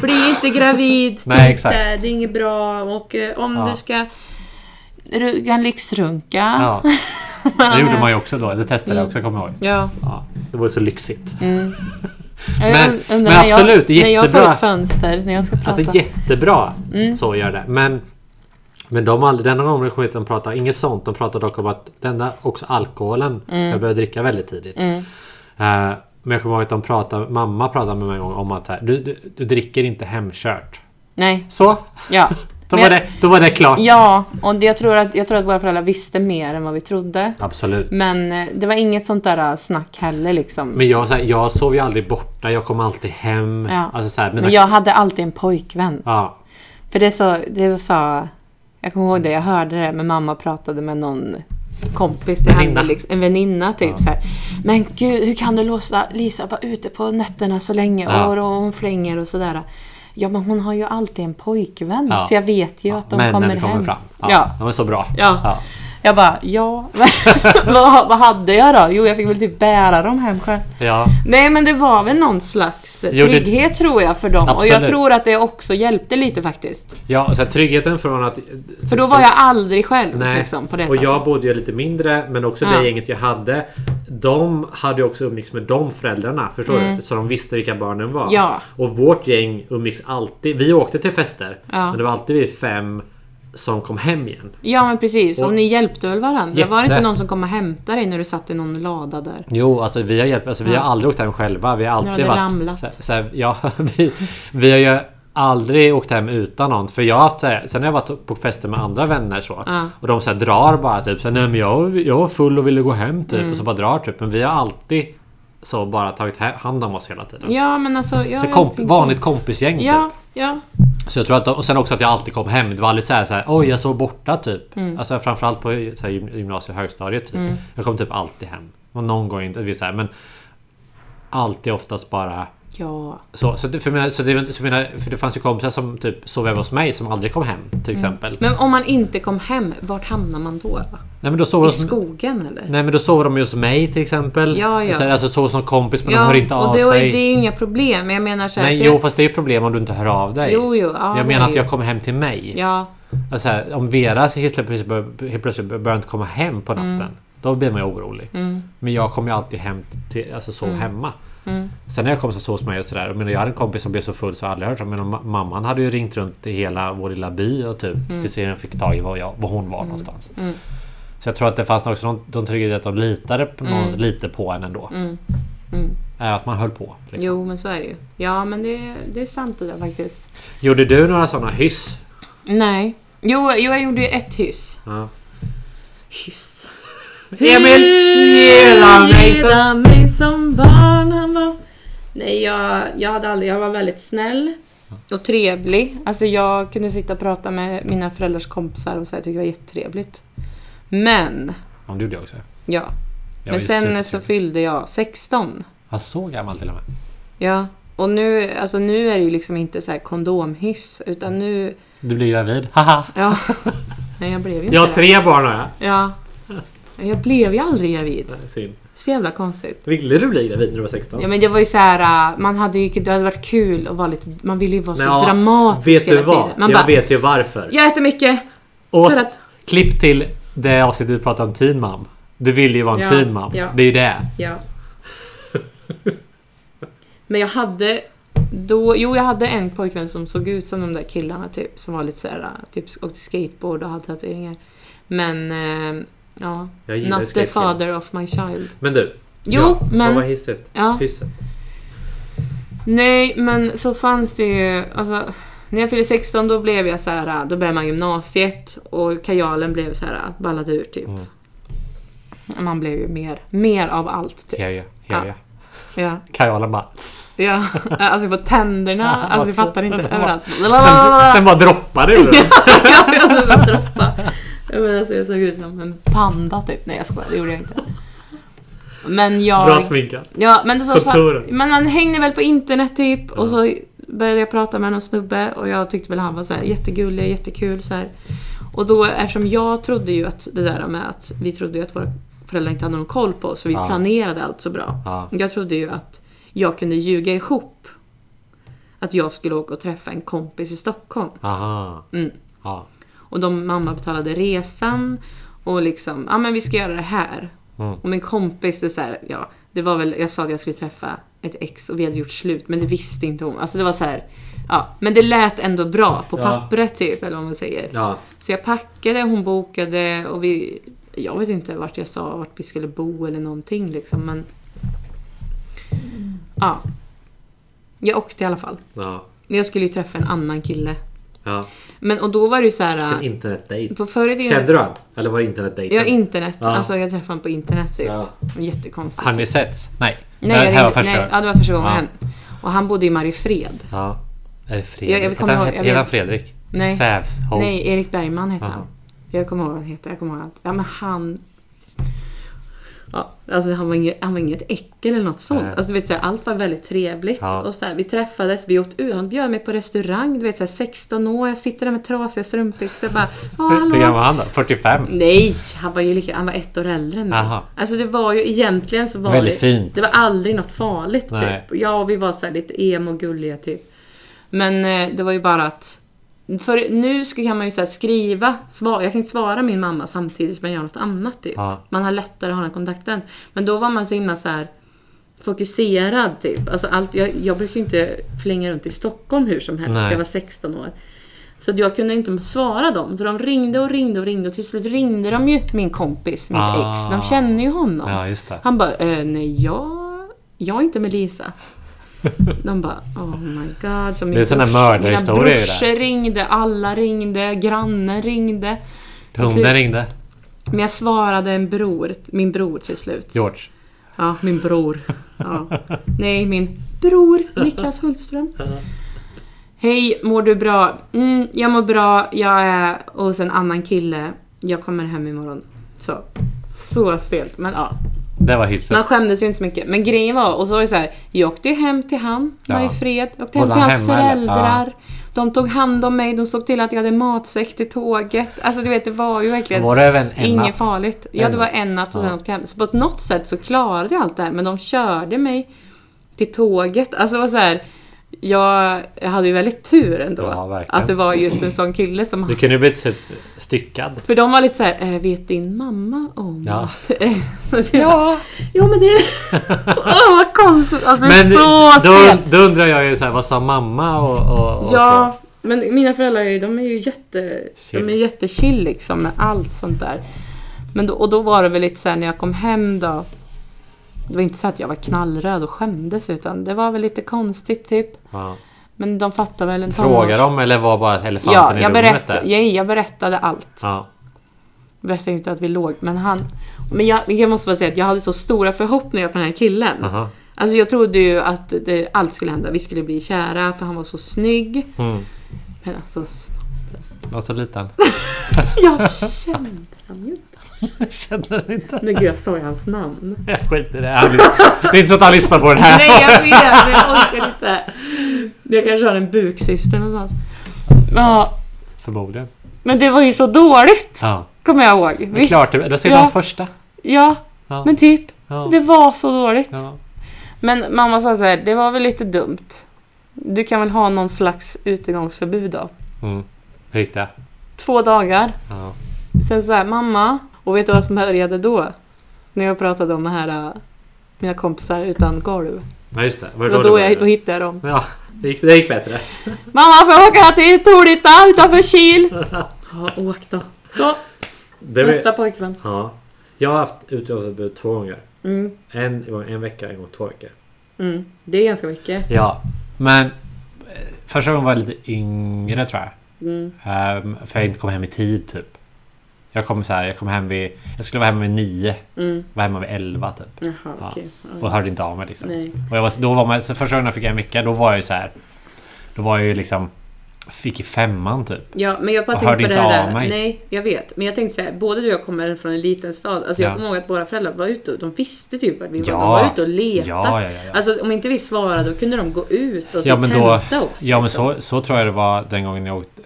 bli inte gravid,
Nej,
typ, så
exakt.
här, det är inget bra och eh, om
Ja.
du ska ruga en lyxrunka. *laughs*
Ja. Det gjorde man ju också då. Det testade jag också, kommer jag ihåg.
Mm. eh, Ja. Mm.
Ja. Det var ju så lyxigt. *laughs*
Jag
Men-
undrar
men absolut,
när jag, när jag får
jättebra.
ett fönster när jag ska prata. Mm.
Alltså jättebra så gör det. Men, men de har aldrig, den gången kom hit de pratade inget sånt. De pratade dock om att den där också alkoholen.
Mm.
Jag började dricka väldigt tidigt. Eh, men jag kommer ihåg att de pratade, mamma pratade med mig en gång om att här, du, du, du dricker inte hemkört.
Nej,
Så!
ja.
Då,
Men
var
jag-
det, då var det klart.
Ja, och det- jag tror, att, jag tror att våra föräldrar visste mer än vad vi trodde.
Absolut.
Men eh, det var inget sånt där eh, snack heller liksom.
Men jag, så här, jag sov ju aldrig borta. Jag kom alltid hem.
Ja.
Alltså, så här, mina,
Men jag hade alltid en pojkvän.
ja,
För det sa, det sa, jag kommer ihåg det, jag hörde det, men mamma pratade med någon kompis till henne,
Väninna.
liksom, en väninna typ så här. Men gud, hur kan du låta Lisa vara ute på nätterna så länge?
Ja.
Och, och hon flänger och sådär. Ja, men hon har ju alltid en pojkvän,
Ja.
så jag vet ju att de
männen
kommer
kommer,
hem.
fram. Ja,
Ja.
De är så bra.
Ja. Jag bara, ja. *laughs* vad, vad hade jag då? Jo, jag fick väl typ bära dem hem själv.
Ja.
Nej men det var väl någon slags
Jo, det-
trygghet tror jag för dem och jag
Absolut.
tror att det också hjälpte lite faktiskt.
ja så här, tryggheten från att...
För då var jag aldrig själv liksom, på det
Typ. och
sättet.
jag bodde ju lite mindre men också
Ja.
det gänget jag hade. De hade ju också umgicks med de föräldrarna. Förstår du? Så de visste vilka barnen var.
Mm. Ja.
Och vårt gäng umgicks alltid. Vi åkte till fester.
Ja.
Men det var alltid vi fem som kom hem igen.
Ja men precis, och,
Och-
ni hjälpte väl varandra? Var det
Jätte.
inte någon som kom och hämtade dig när du satt i någon lada där?
Jo, alltså vi har hjälpt, alltså, vi har aldrig åkt hem själva. Vi har alltid
det
varit...
ramlat.
Så, så här, ja, *laughs* vi, vi har ju aldrig åkt hem utan någon. För jag har haft så här, sen har jag varit på fester med andra vänner så.
Ja.
Och de så här, drar bara typ så här, nej men jag, jag var full och ville gå hem
Mm.
typ. Och så bara drar typ. Men vi har alltid så bara tagit he- hand om oss hela tiden.
Ja men alltså... Ja,
Så
jag
komp,
tänkte-
vanligt kompisgäng
Ja,
typ.
ja.
Så jag tror att de, och sen också att jag alltid kom hem. Det var aldrig så här, så här oj jag sov borta typ.
Mm.
Alltså framförallt på så här, gym- gymnasiet och högstadiet typ. Jag kom typ alltid hem. Och någon gång inte, vi så här, men alltid oftast bara
Ja.
så, så, det, för, jag menar, så, det, var inte- så jag menar, för det fanns ju kompisar som typ sov över hos mig som aldrig kom hem till exempel.
Mm. Men om man inte kom hem, vart hamnar man då?
Nej men då sov
I
hos,
skogen eller?
Mm. Nej men då sover de ju hos mig till exempel.
Ja, ja.
Så här, Alltså sov hos någon kompis men de hör inte
och
av
det,
sig.
det är ju inga problem, men jag menar såhär...
Nej, jo fast det är ju problem om du inte hör av dig.
Jo, jo, ja,
jag
det är
menar att
ju.
jag kommer hem till mig.
Ja,
Alltså här, om Veras helt plötsligt bör- helt plötsligt börjar inte komma hem på
Mm.
natten. Då blir man ju orolig. Men jag kommer ju alltid hem till, alltså
Mm.
sov hemma. Sen när jag kom så sov hos mig och sådär. Jag, menar, jag hade en kompis som blev så full så jag aldrig hört om Men ma- mamman hade ju ringt runt i hela vår lilla by och typ
Mm.
tills jag fick tag i var, jag, var hon var någonstans. Så jag tror att det fanns också någon, de trygghet att de litade på,
Mm.
någon, lite på en ändå. Eh, Att man höll på. Liksom.
jo men så är det ju. Ja men det, det är sant det där faktiskt.
Gjorde du några sådana hyss?
Nej. Jo, jo jag gjorde ju ett hyss.
Ja.
Hyss.
Emil, gilla mig så-
Gilla mig som barn han var. Nej, jag, jag hade aldrig, jag var väldigt snäll och trevlig. Alltså jag kunde sitta och prata med mina föräldrars kompisar och så här, jag tyckte det var jättetrevligt. Men,
Ja, det gjorde jag också.
ja.
Jag
Men sen så
supertrevlig.
fyllde jag 16.
Jag så gammal till och med.
Ja. Och nu, alltså nu är det ju liksom inte så här kondomhyss utan nu...
Du blir gravid. Haha! *laughs*
Ja. Nej, jag blev ju inte
Jag har
det.
tre barn har jag.
Ja. Jag blev ju aldrig gravid.
Nej, Synd.
Så jävla konstigt.
Ville du bli gravid när du var 16?
Ja men det var ju så här, äh, man hade ju, det hade varit kul att vara lite, man ville ju vara så
Men ja,
dramatisk
Vet
hela
du vad?
tiden. Man
jag
bara,
vet ju varför.
jag äter mycket!
Och
för att-
Klipp till det avsnittet du pratade om teen mom. Du ville ju vara en
Ja,
teen mom.
ja.
*laughs* Det är ju det.
Ja. Men jag hade då, jo jag hade en pojkvän som såg ut som de där killarna typ. Som var lite såhär, typ åkte skateboard och hade tatueringar. Men, eh, ja.
Jag gillar
Not the
skatekillar.
father of my child.
Men du.
Jo, men-
Vad var hisset?
Ja.
Hisset.
Nej, men så fanns det ju... Alltså, när jag fyllde 16 då blev jag så här, äh, då började man gymnasiet och kajalen blev så här ballad ur typ. Man blev ju mer, mer av allt typ.
Hear you, hear
Ja.
you.
Ja.
Kajalen bara...
ja. Alltså på tänderna, alltså jag fattar inte.
Den bara-
Överallt. Lalalala. *laughs*
Den bara droppade ur den.
Ja, jag hade bara droppa. Men alltså jag såg ut som en panda typ. Nej jag skojar, det gjorde jag inte. Men jag...
Bra sminkat.
Ja, men, det så,
Kontoren.
men man hängde väl på internet typ och så började jag prata med någon snubbe och jag tyckte väl han var så här jättegullig, jättekul så här. Och då eftersom jag trodde ju att det där med att vi trodde ju att våra föräldrar inte hade någon koll på oss så vi
Ja.
planerade allt så bra.
Ja.
Jag trodde ju att jag kunde ljuga ihop att jag skulle åka och träffa en kompis i Stockholm.
Aha.
Mm.
Ja.
Och de, mamma betalade resan och liksom, ja ah, men vi ska göra det här.
Mm.
Och min kompis, det, är så här, ja, det var väl, jag sa att jag skulle träffa ett ex och vi hade gjort slut men det visste inte hon. Alltså det var så här, ja. Men det lät ändå bra på
Ja.
pappret typ, eller vad man säger.
Ja.
Så jag packade, hon bokade och vi... Jag vet inte vart jag sa vart vi skulle bo eller någonting liksom men... Ja. Jag åkte i alla fall.
Ja.
Jag skulle ju träffa en annan kille.
ja.
Men och då var det ju så här...
En internetdejt.
På förr i tiden-
Kände du han? Eller var det internetdejten?
Mm.
Ja, internet.
Ja.
Alltså jag träffade honom på internet typ.
Ja.
Jättekonstigt.
Har ni setts? Nej.
Nej,
det här var
jag ringde,
första.
nej, ja, det var första gången.
Ja.
Och han bodde i Mariefred.
Ja. Är det
Jag-
Fredrik?
jag kommer
Heter han-
ihåg- jag
Heter han
vet-
Fredrik?
Nej.
Sävs. oh.
Nej, Erik Bergman hette
Jaha.
han. Jag kommer ihåg vad han hette. Jag kommer ihåg allt. Ja, men han... Ja, alltså han var, inget, han var inget äckel eller något sånt.
Nej.
Alltså, du vet, så här, allt var väldigt trevligt.
Ja.
Och så här, vi träffades, vi åt ut. Han bjöd mig på restaurang. Du vet, så här, 16 år, jag sitter där med trasiga strumpbyxor. Bara, "Ja,
Hur
hallå, Mm.
gammal var han då? 45?
Nej, han var ju lika, han var ett år äldre än mig.
Aha.
Alltså det var ju egentligen så var
Väldigt
det,
fint.
det var aldrig något farligt
Nej.
typ. Ja, och vi var så här lite emo-gulliga typ. Men eh, det var ju bara att för nu ska- kan man ju så här skriva, svara. jag kan inte svara min mamma samtidigt som jag gör något annat typ.
Ja.
Man har lättare att ha den kontakten. Men då var man så himla så här fokuserad typ. Alltså allt, jag, jag brukar ju inte flänga runt i Stockholm hur som helst,
Nej.
jag var 16 år. Så att jag kunde inte svara dem. Så de ringde och ringde och ringde och till slut ringde de ju min kompis, mitt
Ah.
ex. De känner ju honom.
Ja, just det.
Han bara, eh, nej jag, jag är inte med Lisa. De bara, oh my god. Så min
är såna
brors-
mördarhistorier
Mina
ju
brorsor ringde, alla ringde, grannen ringde. Till slut-
Hunden ringde.
Men jag svarade en bror, min bror till slut.
George.
Ja, min bror. Ja. Nej, min bror Niklas Hultström. Hej, mår du bra? Mm, jag mår bra. Jag är hos en annan kille. Jag kommer hem imorgon. Så. Så stelt, men ja.
Det var
Man
hyssen.
skämdes ju inte så mycket. Men grejen var, och så var det så här, jag åkte ju hem till han
Ja.
varje fred. Jag åkte hem
Bodde
till
han
hans
hemma, eller?
föräldrar. De tog hand om mig, de såg till att jag hade matsäck till tåget. Alltså du vet, det var ju verkligen
Var det även en
inget
natt?
farligt. Ja,
En
det var
natt.
en natt och
Ja.
sen åkte jag hem. Så på något sätt så klarade jag allt det här, men de körde mig till tåget. Alltså det var så här, jag, jag hade ju väldigt tur ändå.
Ja, verkligen.
att det var just en sån kille som
Du kunde ju bli typ styckad.
för de var lite så här, "Eh, vet din mamma om
Ja.
att... *laughs* Eh, ja. ja,
*laughs*
men det... Åh, vad konstigt! Alltså, det är så
då,
stelt!
då undrar jag ju så här, vad sa mamma och, och, och
Ja, men mina föräldrar är ju- de är ju jätte...
Chill.
De är jättechill liksom med allt sånt där. Men då, och då var det väl lite så här när jag kom hem då. Det var inte så att jag var knallröd och skämdes utan det var väl lite konstigt typ.
så. Ja.
Men de fattade väl en
Frågar
tonårs-
de eller var bara elefanten
Ja,
i
jag,
rummet
berätt,
där?
ja, jag berättade allt.
Ja.
berättade inte att vi låg, men han... Men jag, jag måste bara säga att jag hade så stora förhoppningar på den här killen.
Aha.
Alltså jag trodde ju att det, allt skulle hända. Vi skulle bli kära för han var så snygg.
Mm.
Men alltså, s-
Var så liten.
jag kände han ju inte.
*laughs* Jag känner inte.
Men gud, jag sa ju hans namn.
*laughs* Jag skiter i det. Han- Det är inte så att han lyssnar på den här.
Nej, jag vet! men Jag orkar inte. Jag kanske har en buksyster någonstans. Ja,
Förmodligen.
men det var ju så dåligt,
Ja.
kommer jag ihåg.
Det är klart. Det var säkert
Ja.
hans första.
Ja,
Ja.
men typ.
Ja.
Det var så dåligt.
Ja.
Men mamma sa så här, det var väl lite dumt. Du kan väl ha någon slags utegångsförbud då?
Mm. Hur gick det?
Två dagar.
Ja.
Sen så här, mamma. Och vet du vad som började då? När jag pratade om det här, äh, mina kompisar utan golv.
Ja just det. Var det
Och
det
då, jag,
började?
då hittade jag dem.
Ja, det gick, det gick bättre.
Mamma, får jag åka till Torita
*laughs*
utanför Kil? Ja, åk då. Så,
Det var-
nästa pojkvän.
Ja. Jag har haft utreseavbud två gånger. En gång en vecka, en gång två veckor.
Mm, det är ganska mycket.
Ja, men eh, första gången var jag lite yngre tror jag.
Mm,
Ehm, för jag inte kom hem i tid typ. Jag kom så här, jag kom hem vid... Jag skulle vara hemma vid nio.
Mm.
Var hemma vid elva typ.
Jaha,
Ja.
okej. Ja.
Och hörde inte av mig liksom.
Mm. Nej.
Och jag var, då var man, så första gången jag fick en vecka, då var jag ju så här. Då var jag ju liksom... Fick i femman typ.
Ja, men jag bara
Och
tänkte
hörde
på det
inte av
där.
mig.
Nej, jag vet. Men jag tänkte säga, både du och jag kommer från en liten stad. Alltså jag
Ja.
kommer ihåg att våra föräldrar var ute och de visste typ att vi var,
Ja.
de var ute och letade.
Ja, ja, ja, ja.
Alltså om inte vi svarade då kunde de gå ut och
Ja
typ
men, då,
hämta oss.
ja, men
liksom.
så, så tror jag det var den gången jag åkte...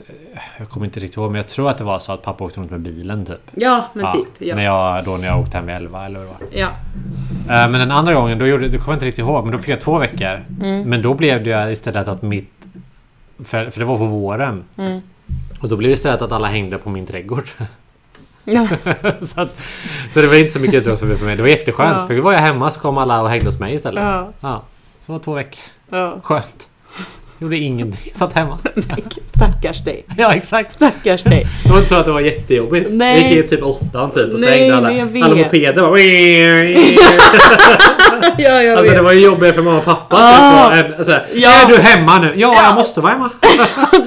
Jag kommer inte riktigt ihåg, men jag tror att det var så att pappa åkte runt med bilen typ.
Ja, men typ. Ja.
När jag, då när jag åkte hem vid elva eller vad det var.
ja.
Eh, Men den andra gången, då gjorde, det kommer jag inte riktigt ihåg, men då fick jag två veckor.
Mm.
Men då blev det ju istället att mitt... För, för det var på våren.
Mm.
Och då blev det istället att alla hängde på min trädgård. *laughs*
Ja.
så, att, så det var inte så mycket utdragsförbud för mig. Det var jätteskönt.
Ja.
För var jag hemma så kom alla och hängde hos mig istället.
Ja.
Så det var två veckor.
*laughs* ja.
Skönt. Gjorde ingenting. Satt hemma.
Stackars dig.
*laughs* Ja exakt.
Stackars dig.
Det var inte så att det var jättejobbigt.
Nej.
Vi gick i typ åttan typ. Och så
Nej,
hängde alla,
men jag vet.
alla mopeder bara...
*laughs* *laughs* ja, jag
Alltså
vet.
det var ju jobbigare för mamma och pappa.
Ah.
Typ, och en, så här,
Ja.
Är du hemma nu? Ja, jag måste vara hemma.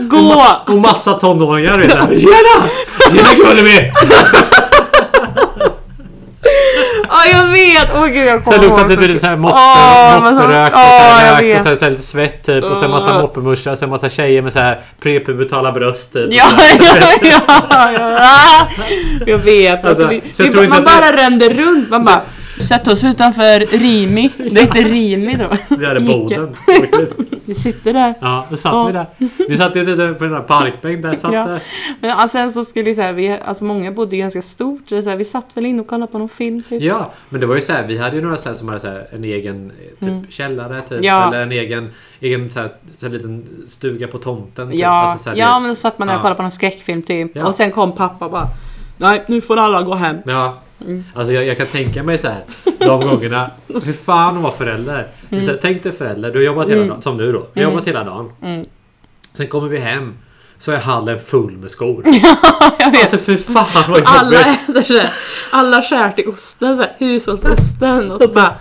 Gå!
Och massa tonåringar
*laughs*
du vet. där. Tjena! Tjena Gullemi!
Ja, jag vet! Åh gud, jag kommer
Sen luktade
ihåg.
det lite såhär moppe,
Åh, Ah, men så-
mopperök och
åh,
såhär
jag
rök
vet. Ah.
och såhär, såhär lite svett typ. Och sen massa moppemuschar. Sen massa tjejer med såhär prepubertala bröst typ.
*laughs* Ja, ja, ja, ja, ja. *laughs* Jag vet. Alltså,
Alltså,
vi,
så jag
vi,
tror inte
man
att
bara rände runt. Man bara... Sätt oss utanför Rimi. Det hette Rimi då.
Vi hade
Ica.
Boden.
Vi sitter där.
Ja, då satt vi där. Vi satt ju typ där på den där parkbänken. Där satt
Ja.
ja.
Men alltså, sen så skulle ju så här, vi, alltså många bodde ganska stort. Så det är så här, vi satt väl in och kollade på någon film typ.
Ja, men det var ju så här, vi hade ju några så här som hade så här, en egen eh, typ, källare typ,
Mm. Ja.
eller en egen, egen så här, så här liten stuga på tomten. Typ.
Ja,
Alltså, så här,
ja
du-
men då satt man där och
Ja.
kollade på någon skräckfilm typ.
Ja.
Och sen kom pappa och bara Nej, nu får alla gå hem.
ja.
Mm.
Alltså jag, jag kan tänka mig så här, de gångerna, hur fan att vara förälder?
Mm.
Så här, tänk dig förälder, du har jobbat hela dagen, som nu då, jag har jobbat hela dagen.
Mm.
Sen kommer vi hem, så är hallen full med
*laughs*
skor.
Jag vet.
Alltså för fan vad
Alla
jobbigt!
äter så här, alla skär till osten, så här, hushållsosten
*laughs*
och så bara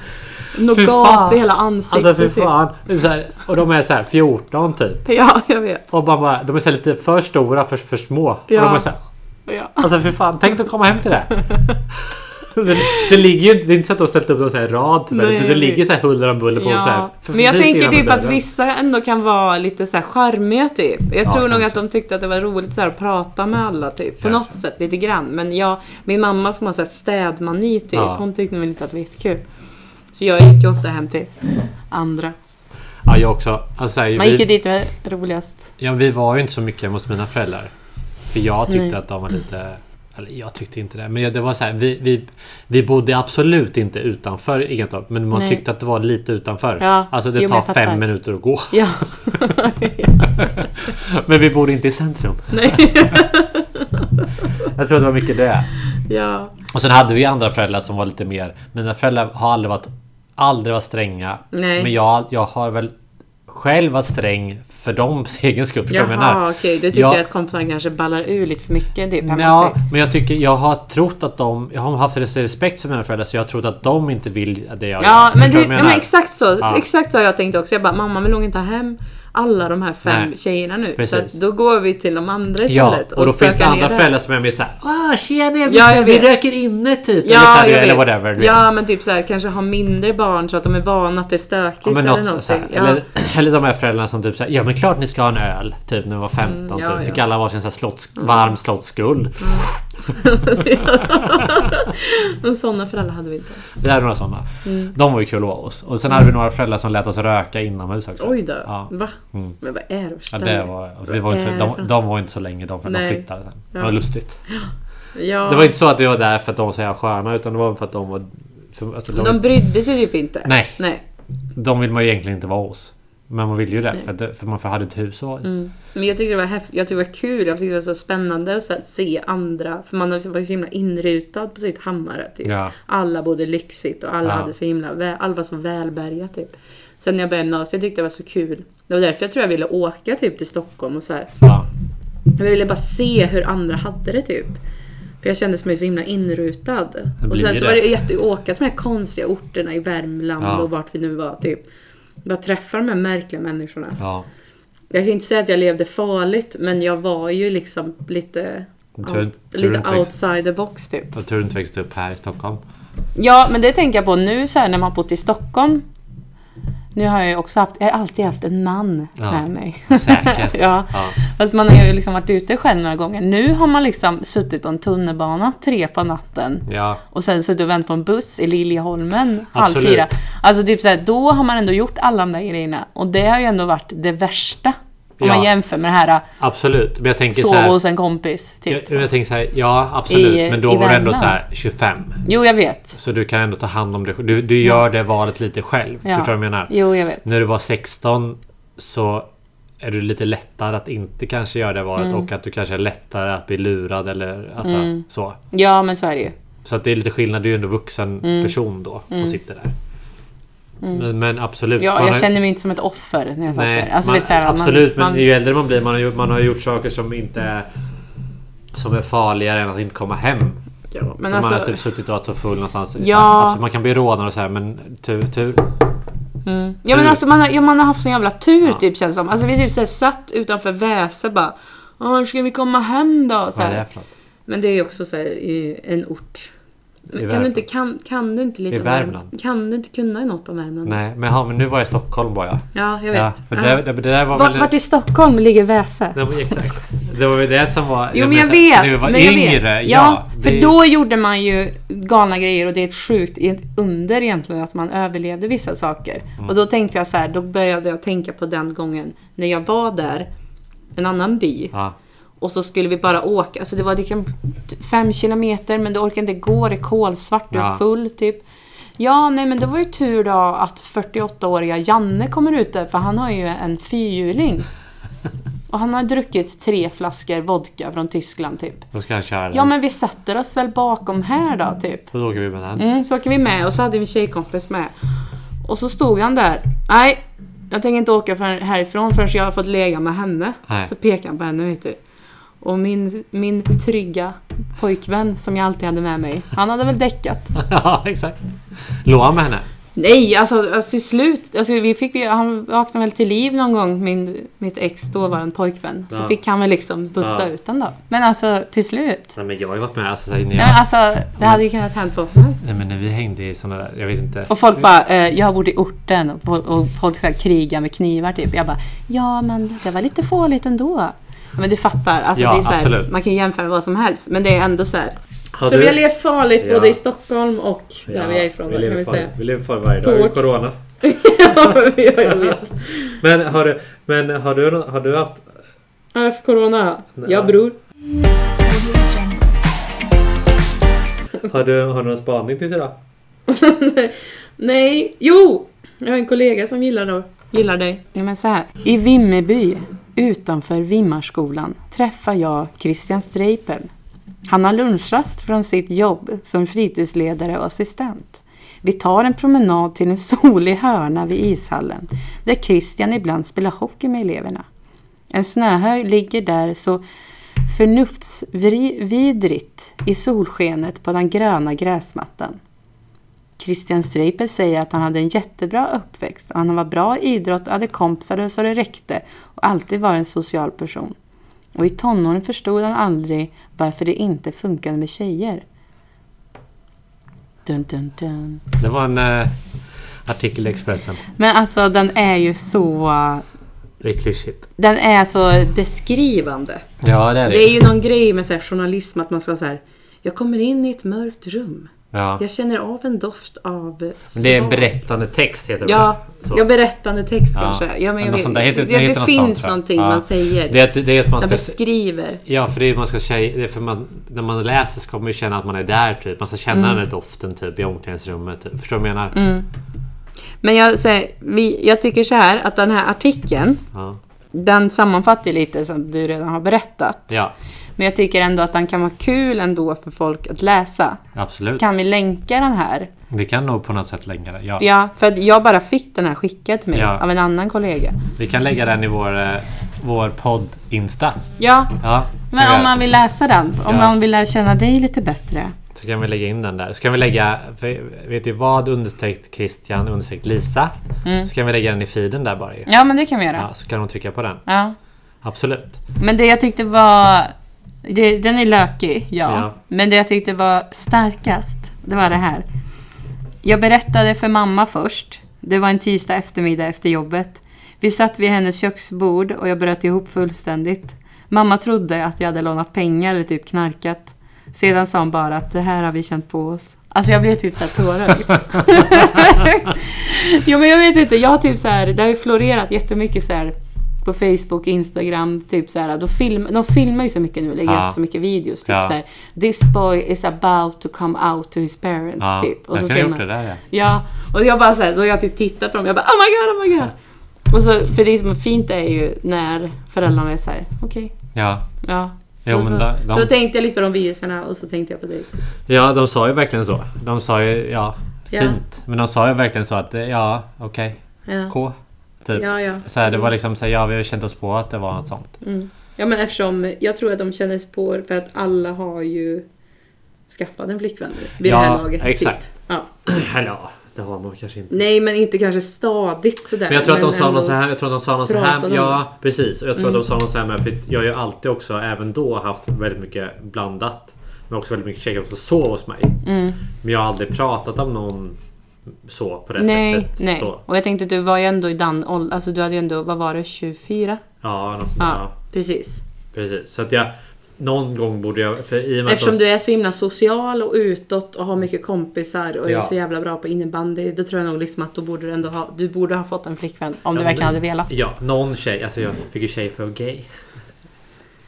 Fy
Nougat
fan.
i hela ansiktet.
Alltså för
typ.
fan! Det är Så här, och de är så här 14 typ.
Ja, jag vet.
Och man bara, de är så här lite för stora för, för små.
Ja.
Och de är så här,
Ja.
Alltså för fan, tänk att komma hem
*laughs*
till det. Det, det ligger ju inte, det är inte så att de har ställt upp någon sån här rad typ,
Nej,
utan
jag
det
vet.
ligger så här huller om buller på så här,
Ja.
för-
Men jag
precis
tänker
innanför
typ att
dörren.
vissa ändå kan vara lite så här charmiga typ. Jag
Ja,
tror nog
kanske.
att de tyckte att det var roligt så här att prata med alla typ. På
Kanske.
något sätt lite grann. Men jag, min mamma som har så här städmani typ.
Ja.
Hon tyckte väl inte att det var jättekul. Så jag gick ju ofta hem till andra.
Ja, jag också. Alltså, så här,
Man gick ju
vi,
dit med roligast.
ja, vi var ju inte så mycket hemma hos mina föräldrar. För jag tyckte
Nej.
att de var lite... Eller jag tyckte inte det. Men jag- det var så här, vi, vi, vi bodde absolut inte utanför Egentorp. Men man
Nej.
tyckte att det var lite utanför.
Ja,
Alltså
jo,
det
men jag
tar
fattar.
fem minuter att gå. *laughs*
Ja. *laughs*
Men vi bodde inte i centrum.
Nej.
Jag tror det var mycket det.
ja.
Och sen hade vi andra föräldrar som var lite mer... Mina föräldrar har aldrig varit, aldrig varit stränga.
Nej.
Men jag, jag har väl själv varit sträng *laughs* för dems egen skull. förstår du vad jag menar?
Jaha, okej. Du tyckte
Jag-
att kompisarna kanske ballar ur lite för mycket typ hemma hos
Ja,
dig.
men jag tycker jag har trott att de... Jag har haft respekt för mina föräldrar så jag har trott att de inte vill det jag
Ja, men,
Förstår
det,
du vad jag
ja, men
menar?
exakt så.
Ja.
Exakt så har jag tänkt också. Jag bara, mamma vill nog inte ha hem alla de här fem
Nej.
tjejerna nu. Så
Precis.
att då går vi till de andra
Ja,
istället.
och då finns det
stökar ner
andra
där.
föräldrar som är mer såhär Åh tjena, vi,
Ja, jag
vi
vet.
röker inne typ. eller, så
Ja,
här,
jag
eller
vet.
whatever. du vet.
ja, men typ så här, kanske ha mindre barn så att de är vana att det är stökigt
Ja, men
eller
något
någonting.
så här,
ja.
eller, *clears throat* eller de här föräldrarna som typ såhär, ja men klart ni ska ha en öl. Typ när vi var 15
Mm, ja,
typ. Fick
ja. Mm.
alla varsin så här slotts, varm slottsguld. *laughs*
*laughs* Men sådana föräldrar hade vi inte.
Vi hade några sådana.
Mm.
De var ju kul att vara hos. Och sen hade vi några föräldrar som lät oss röka inomhus också.
Oj då.
Ja. Mm.
Va? Men vad är det för
Ja,
ställe?
det var, alltså, vi var inte så, de, de var inte så länge de, för de
Nej.
flyttade sen. Det
Ja.
var lustigt.
Ja.
Det var inte så att vi var där för att de var så jävla sköna utan det var för att de var... För, alltså, de,
De
de,
brydde sig typ inte.
Nej.
Nej.
vill man ju egentligen inte vara hos. Men man vill ju det för, att det, för man hade ett hus att vara i.
Men jag tyckte det var, häft, jag tyckte det var kul, jag tyckte det var så spännande att så här, se andra. För man var ju så himla inrutad på sitt hammare. Typ.
Ja.
Alla bodde lyxigt och alla
Ja.
hade så himla, vä- alla var så välbärgade typ. Sen när jag började gymnasiet jag tyckte det var så kul. Det var därför jag tror jag ville åka typ till Stockholm och så här.
Ja.
Jag ville bara se hur andra hade det typ. För jag kände mig så himla inrutad.
Det
Och
blir
sen så
det.
var det jätte- åka till de här konstiga orterna i Värmland
Ja.
och vart vi nu var typ. Bara träffa de här märkliga människorna.
ja.
Jag kan inte säga att jag levde farligt men jag var ju liksom lite,
Tur-
out,
tur
lite
inte liksom- växt-
outside the box typ.
Vad tur du inte växte upp här i Stockholm.
Ja, men det tänker jag på nu så här när man bott i Stockholm. Nu har jag ju också haft, jag har alltid haft en man
Ja,
med mig.
säkert.
*laughs* ja.
Ja.
Fast man har ju liksom varit ute själv några gånger. Nu har man liksom suttit på en tunnelbana tre på natten.
Ja.
Och sen suttit och vänt på en buss i Liljeholmen halv
Absolut.
fyra. Alltså typ så här, då har man ändå gjort alla de där grejerna. Och det har ju ändå varit det värsta. Om
Ja.
man jämför med det här,
Absolut. Men jag tänker så
sova
här.
hos en kompis. Typ.
Jag, jag tänker så här, ja absolut.
I-
men
i
då var du ändå
Värmland.
så här 25.
Jo, jag vet.
Så du kan ändå ta hand om dig själv. Du, du gör det valet lite själv.
Ja.
Förstår du vad jag menar?
Jo, jag vet.
När du var 16 så är du lite lättare att inte kanske göra det valet
Mm.
och att du kanske är lättare att bli lurad eller alltså, så.
Ja, men så är det ju.
Så att det är lite skillnad. Du är ju ändå vuxen
Mm.
person då och sitter där. Men, men absolut.
Ja,
man
jag
har-
känner mig inte som ett offer när jag satt
Nej,
där. Alltså,
man,
vet, så här, man-
absolut, men
man,
ju äldre man blir man har, gjort, man har gjort saker som inte är, som är farligare än att inte komma hem.
men
För man har
alltså,
typ suttit och varit så full någonstans. Så
Ja.
här, Absolut, man kan bli rånad och så här, men tur, tur.
ja, men
tur.
alltså man, har, ja, man har haft sån jävla tur typ känns som. Alltså vi typ så här, satt utanför Väse bara. "Ja, Hur ska vi komma hem då? Så
Vad är det
här.
här för något?
Men det är också så här, i en ort. Men kan,
Värmland.
du inte, kan, kan du inte lite
I
om
Värmland.
Kan du inte kunna något om Värmland?
Nej, men, ja, men nu var jag i Stockholm var jag.
Ja, jag vet.
Ja, för
Ja.
det, det, det där var
Vart,
väl...
vart i Stockholm ligger Väse?
det, var, exakt. det var väl det som var...
Jo men jag
menar,
vet,
När vi var
men jag
yngre.
vet. Ja, för
det-
då gjorde man ju galna grejer och det är ett sjukt det är ett under egentligen att man överlevde vissa saker.
Mm.
Och då tänkte jag så här, då började jag tänka på den gången när jag var där, en annan by.
Ja,
Och så skulle vi bara åka, alltså det var liksom t- fem kilometer men du orkar inte gå, det är kolsvart, du
Ja.
är full typ. Ja, nej men det var ju tur då att 48-åriga Janne kommer ut där för han har ju en fyrhjuling. Och han har druckit tre flaskor vodka från Tyskland typ.
då ska jag köra den.
Ja men vi sätter oss väl bakom här då typ.
Då åker vi med den. *laughs*
Mm, så åker vi med och så hade vi en tjejkompis med. Och så stod han där. Nej, jag tänker inte åka för, härifrån förrän jag har fått lägga med henne.
Nej.
Så pekade han på henne vet du. Och min, min trygga pojkvän som jag alltid hade med mig. Han hade väl däckat.
ja, exakt. Låg med henne.
Nej, alltså alltså, till slut. Alltså, vi fick, vi- han vaknade väl till liv någon gång, min, mitt ex dåvarande pojkvän. Så
Ja.
fick han väl liksom butta
Ja.
ut den då. Men alltså till slut.
Nej, men jag har ju varit med alltså, så här, när jag,
Ja. men Alltså, det hade ju kunnat hänt vad som helst.
Nej men när vi hängde i såna där, jag vet inte.
Och folk bara, eh, jag bor i orten och, fol- och folk ska kriga med knivar typ. Jag bara, ja men det var lite farligt ändå. Ja, Men du fattar, alltså,
Ja,
det är så här,
absolut.
man kan ju jämföra vad som helst. Men det är ändå så här.
Har
så
du-
vi har levt farligt
Ja.
både i Stockholm och där
Ja,
vi är ifrån.
Vi
kan
lever
vi säga.
farligt- vi lever farligt varje
På
dag. i
vårt-
Corona.
*laughs* ja, jag vet.
Men har du, men har du, nå- har du haft...
Ja, för corona. Ja bror.
Har du, har du någon spaning till idag?
*laughs* Nej, jo! Jag har en kollega som gillar, då, gillar dig. Ja, men så här. I Vimmerby, utanför Vimmarskolan, träffar jag Christian Streipel. Han har lunchrast från sitt jobb som fritidsledare och assistent. Vi tar en promenad till en *laughs* solig hörna vid ishallen, där Christian ibland spelar hockey med eleverna. En snöhög ligger där så förnuftsvidrigt i solskenet på den gröna gräsmattan. Christian Streipel säger att han hade en jättebra uppväxt. och Han var bra i idrott, hade kompisar så det räckte och alltid var en social person. Och i tonåren förstod han aldrig varför det inte funkade med tjejer. Dun, dun, dun.
Det var en eh, artikel i Expressen.
Men alltså den är ju så...
Det är klyschigt.
Den är så beskrivande.
Ja det är
Det är ju någon grej med så här journalism att man ska så här... Jag kommer in i ett mörkt rum.
Ja.
Jag känner av en doft av
Men det är en
sval."
berättande text heter det
Ja,
väl? Så.
ja berättande text
Ja.
kanske. Ja, men jag
Något
vet,
sånt där. Heter-
det, det,
heter något sånt,
finns
tror jag.
någonting
Ja.
man säger.
Det är, att- det är att man
man
ska...
beskriver.
Ja, för det är man ska tjej, det är för man, när man läser så kommer man ju känna att man är där typ. Man ska känna
Mm.
den där doften typ i omklädningsrummet. Typ. Förstår du vad jag menar?
Men jag, säger, vi, jag tycker så här att den här artikeln,
Ja.
den sammanfattar ju lite som du redan har berättat.
ja.
Men jag tycker ändå att den kan vara kul ändå för folk att läsa. Så
Absolut.
kan vi länka den här?
Vi kan nog på något sätt länka den. Ja.
Ja, för att jag bara fick den här skickad till mig
Ja.
av en annan kollega.
Vi kan lägga den i vår, eh, vår podd-insta.
Ja,
Ja,
men om man vill läsa den. Om
Ja.
man vill lära känna dig lite bättre.
Så kan vi lägga in den där. Så kan vi lägga, för- vet du vad, understreck Christian, understreck Lisa.
Mm.
Så kan vi lägga den i feeden där bara ju.
Ja, men det kan vi göra.
Ja, så kan de trycka på den.
Ja.
Absolut.
Men det jag tyckte var... Det, den är lökig, ja.
Ja.
Men det jag tyckte var starkast, det var det här. Jag berättade för mamma först. Det var en tisdag eftermiddag efter jobbet. Vi satt vid hennes köksbord och jag bröt ihop fullständigt. Mamma trodde att jag hade lånat pengar eller typ knarkat. Sedan sa hon bara att det här har vi känt på oss. Alltså jag blev typ såhär tårögd. *laughs* ja men jag vet inte, jag har typ så här, det har ju florerat jättemycket så här på Facebook, Instagram, typ så här, då film, de filmar ju så mycket nu, lägger
Ja.
upp så mycket videos. Typ
Ja.
så här, This boy is about to come out to his parents.
Ja,
typ.
jag kan
ser
ha
man-
gjort det där, ja.
Ja, och jag bara så här, då har jag typ tittat på dem. Jag bara oh my god, oh my god. Och så, för det som är fint är ju när föräldrarna är så här, okej,
Ja.
ja.
Jo,
Och
men
så,
där- de-
så då tänkte jag lite på de videorna och så tänkte jag på dig.
ja, de sa ju verkligen så. De sa ju, ja,
Ja.
fint. Men de sa ju verkligen så att, eh, ja, okej,
Ja.
K. Typ.
Ja, ja. Mm.
Så här, det var liksom så här, ja vi har känt oss på att det var något sånt.
ja, men eftersom jag tror att de känner spår för att alla har ju skaffat en flickvän nu vid
Ja,
det här laget.
exakt.
Typ. Ja.
*clears throat* Eller ja, det har man kanske inte.
Nej, men inte kanske stadigt sådär.
Men jag tror att de sa
ändå- Mm.
något så här. Jag tror att de sa något så
pratade
här.
om
Ja, precis. Och jag tror att de sa något så här med. För jag har ju alltid också, även då, haft väldigt mycket blandat. Men också väldigt mycket tjejer som sov hos mig.
Mm.
Men jag har aldrig pratat om någon så på det
Nej,
sättet.
nej.
Så.
Och jag tänkte att du var ju ändå i den åldern, alltså du hade ju ändå, vad var det, 24?
Ja, något sånt,
Ja,
ja.
precis.
precis. Så att jag... Någon gång borde jag... För i och med
Eftersom
att de,
du är så himla social och utåt och har mycket kompisar och är
Ja.
så jävla bra på innebandy. Då tror jag nog liksom att då borde du ändå ha, du borde ha fått en flickvän om du
men
verkligen
det-
hade velat.
Ja, någon tjej. Alltså jag fick ju tjej för att vara gay.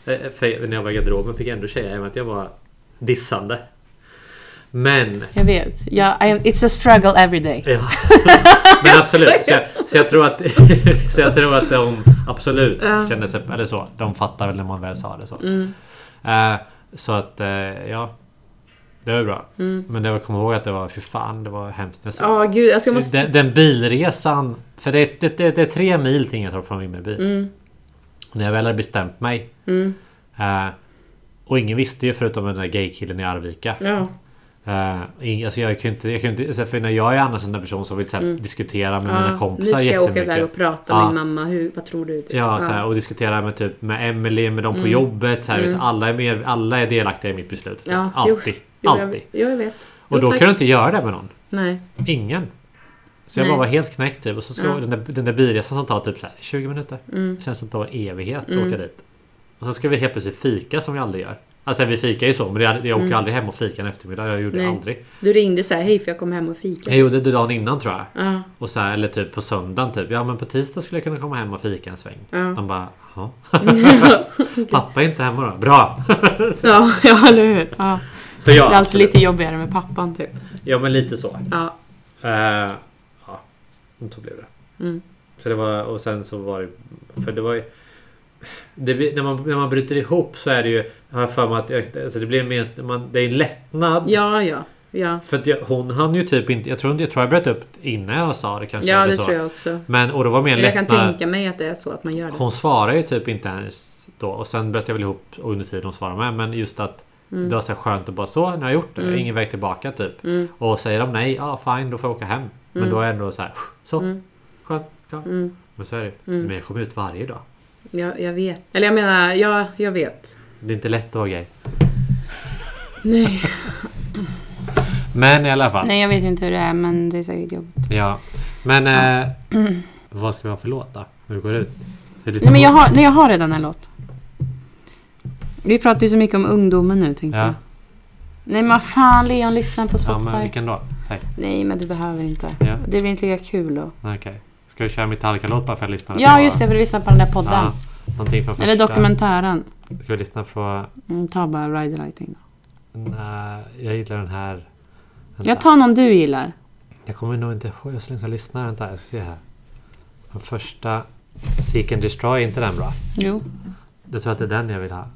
Eh, för när jag var i garderoben fick jag ändå tjejer. Även att jag var dissande. Men...
Jag vet. Ja, I am, it's a struggle every day.
Ja. *laughs* Men absolut. Så jag, så jag tror att *laughs* Så jag tror att de absolut
Ja. Mm.
kände sig... Eller så. De fattar väl när man väl sa det så. Eh, så att eh, ja. Det var bra. Men det var, kom ihåg att det var... Fy fan, det var hemskt. Jag såg-
Mm. Ja, gud. Alltså jag måste...
den, den bilresan. För det, det, det, det är tre mil till Ingetorp från Vimmerby.
Mm.
Och när jag väl hade bestämt mig. eh, och ingen visste ju förutom den där gaykillen i Arvika.
Ja.
Eh, ing- alltså jag kan ju inte, jag kan ju inte, så för när jag är annars en sån där person som vill så här, diskutera med mina
Mm. Ja, nu
kompisar
ska jag åka iväg och
jättemycket.
prata
Ja.
med min mamma. Hur, vad tror du?
Ja, Så här, och diskutera med, typ, med Emily, med dem på
Mm.
jobbet. Så här, så alla, är med, alla är delaktiga i mitt beslut. typ.
Ja, jo.
alltid.
Jo, jag,
alltid.
jo, jag vet.
Och
Jo,
då
tack.
kan du inte göra det med någon.
Nej.
Ingen. Så jag
Nej.
bara var helt knäckt typ. Och så ska
Ja. Mm.
den, där, den där bilresan som tar typ så här 20 minuter. Känns som att det var en evighet att åka dit. Och sen ska vi helt plötsligt fika som vi aldrig gör. Alltså vi fikar ju så men jag, jag åker ju aldrig hem och fikar en eftermiddag. Jag gjorde det
Mm. Nej.
aldrig.
Du ringde så här, hej för jag kommer hem och fika.
Jag gjorde det dagen innan tror jag.
Ja.
Och så här, eller typ på söndagen typ. Ja men på tisdag skulle jag kunna komma hem och fika en sväng.
Ja.
De bara
*laughs*
jaha. *laughs* Pappa är inte hemma då. Bra!
Ja, *laughs* ja eller hur? Ja.
Så ja,
det är alltid
absolut.
lite jobbigare med pappan typ.
ja men lite så.
Ja.
Eh, ja, men så blev det.
Mm.
Så det var, och sen så var det... För det var ju... Det, blir- när, man, när man bryter ihop så är det ju... Har jag för mig att... jag- Alltså det blir minst, man, det är en lättnad.
Ja, ja. Ja,
För att jag, hon hann ju typ inte... Jag tror, inte- jag tror jag bröt upp innan jag sa det kanske.
ja
eller
det
så.
tror jag också.
Men, och det var mer en
Eller jag kan
lättnad.
tänka mig att det är så att man gör det.
Hon svarar ju typ inte ens då. Och sen bröt jag väl ihop och under tiden hon svarar med. Men just att
Mm.
det var så här skönt att bara så, nu har jag gjort det. Ingen väg tillbaka typ. Och säger de nej, ja fine, då får jag åka hem. Men
Mm.
då är jag ändå så här, så. Skönt, klart. Men så är det
Mm.
Men jag kommer ut varje dag.
Jag, jag vet. Eller jag menar, ja, jag vet.
Det är inte lätt att vara gay. Nej. Men i alla fall.
Nej, jag vet ju inte hur det är, men det är säkert jobbigt.
Ja. Men eh,
*clears throat*
vad ska vi ha för låt då? När vi går ut? Så lite
Nej, men jag har, nej, jag har redan en låt. Vi pratar ju så mycket om ungdomen nu, tänkte
Ja,
jag. Nej, men vad fan, Leon lyssnar på
ja
Spotify.
men vilken då? Tack.
Nej, men du behöver inte.
Ja.
Det blir inte lika kul då.
Nej, Okej. Ska vi köra Metallica-låt bara för att lyssna?
Ja, just det, för att lyssna på den där podden.
Ja, någonting från första.
Eller dokumentären.
Ska vi lyssna på...
Mm, ta bara Ride the Lighting då.
Nej, jag gillar den här. Vänta.
Jag tar någon du gillar.
jag kommer nog inte ihåg. Jag ska lyssna- lyssna. Vänta, jag ska se här. Den första... Seek and Destroy, är inte den bra?
Jo.
Jag tror att det är den jag vill ha.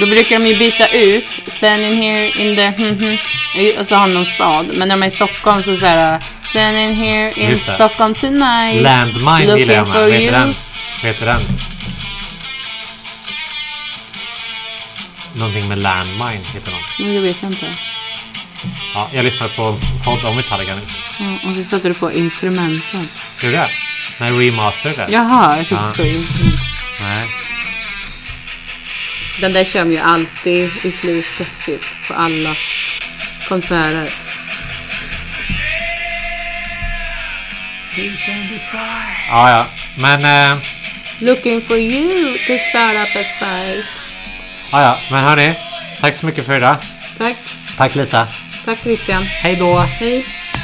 Då brukar de ju byta ut Standing here in the... hm, och så har de någon stad. Men när de är i Stockholm så så här... Standing here in
Just det.
Stockholm tonight.
Landmine gillar jag med.
looking for
Vad heter den?
you.
Vad heter den? Någonting med Landmine heter den.
Nej, Mm, det vet jag inte.
Ja, jag lyssnar på en podd om Metallica nu.
Mm, Och så satte du på instrumenten.
Hur är det? Den här remastered där.
Jaha, jag tyckte
Ja.
så. instrument.
Nej.
Den där kör de ju alltid i slutet typ, på alla konserter.
Ja, ja. Men, eh,
Looking for you to start up a fight.
ja, ja. Men hörni. Tack så mycket för idag.
Tack.
Tack Lisa.
Tack Christian.
Hej då.
Hej.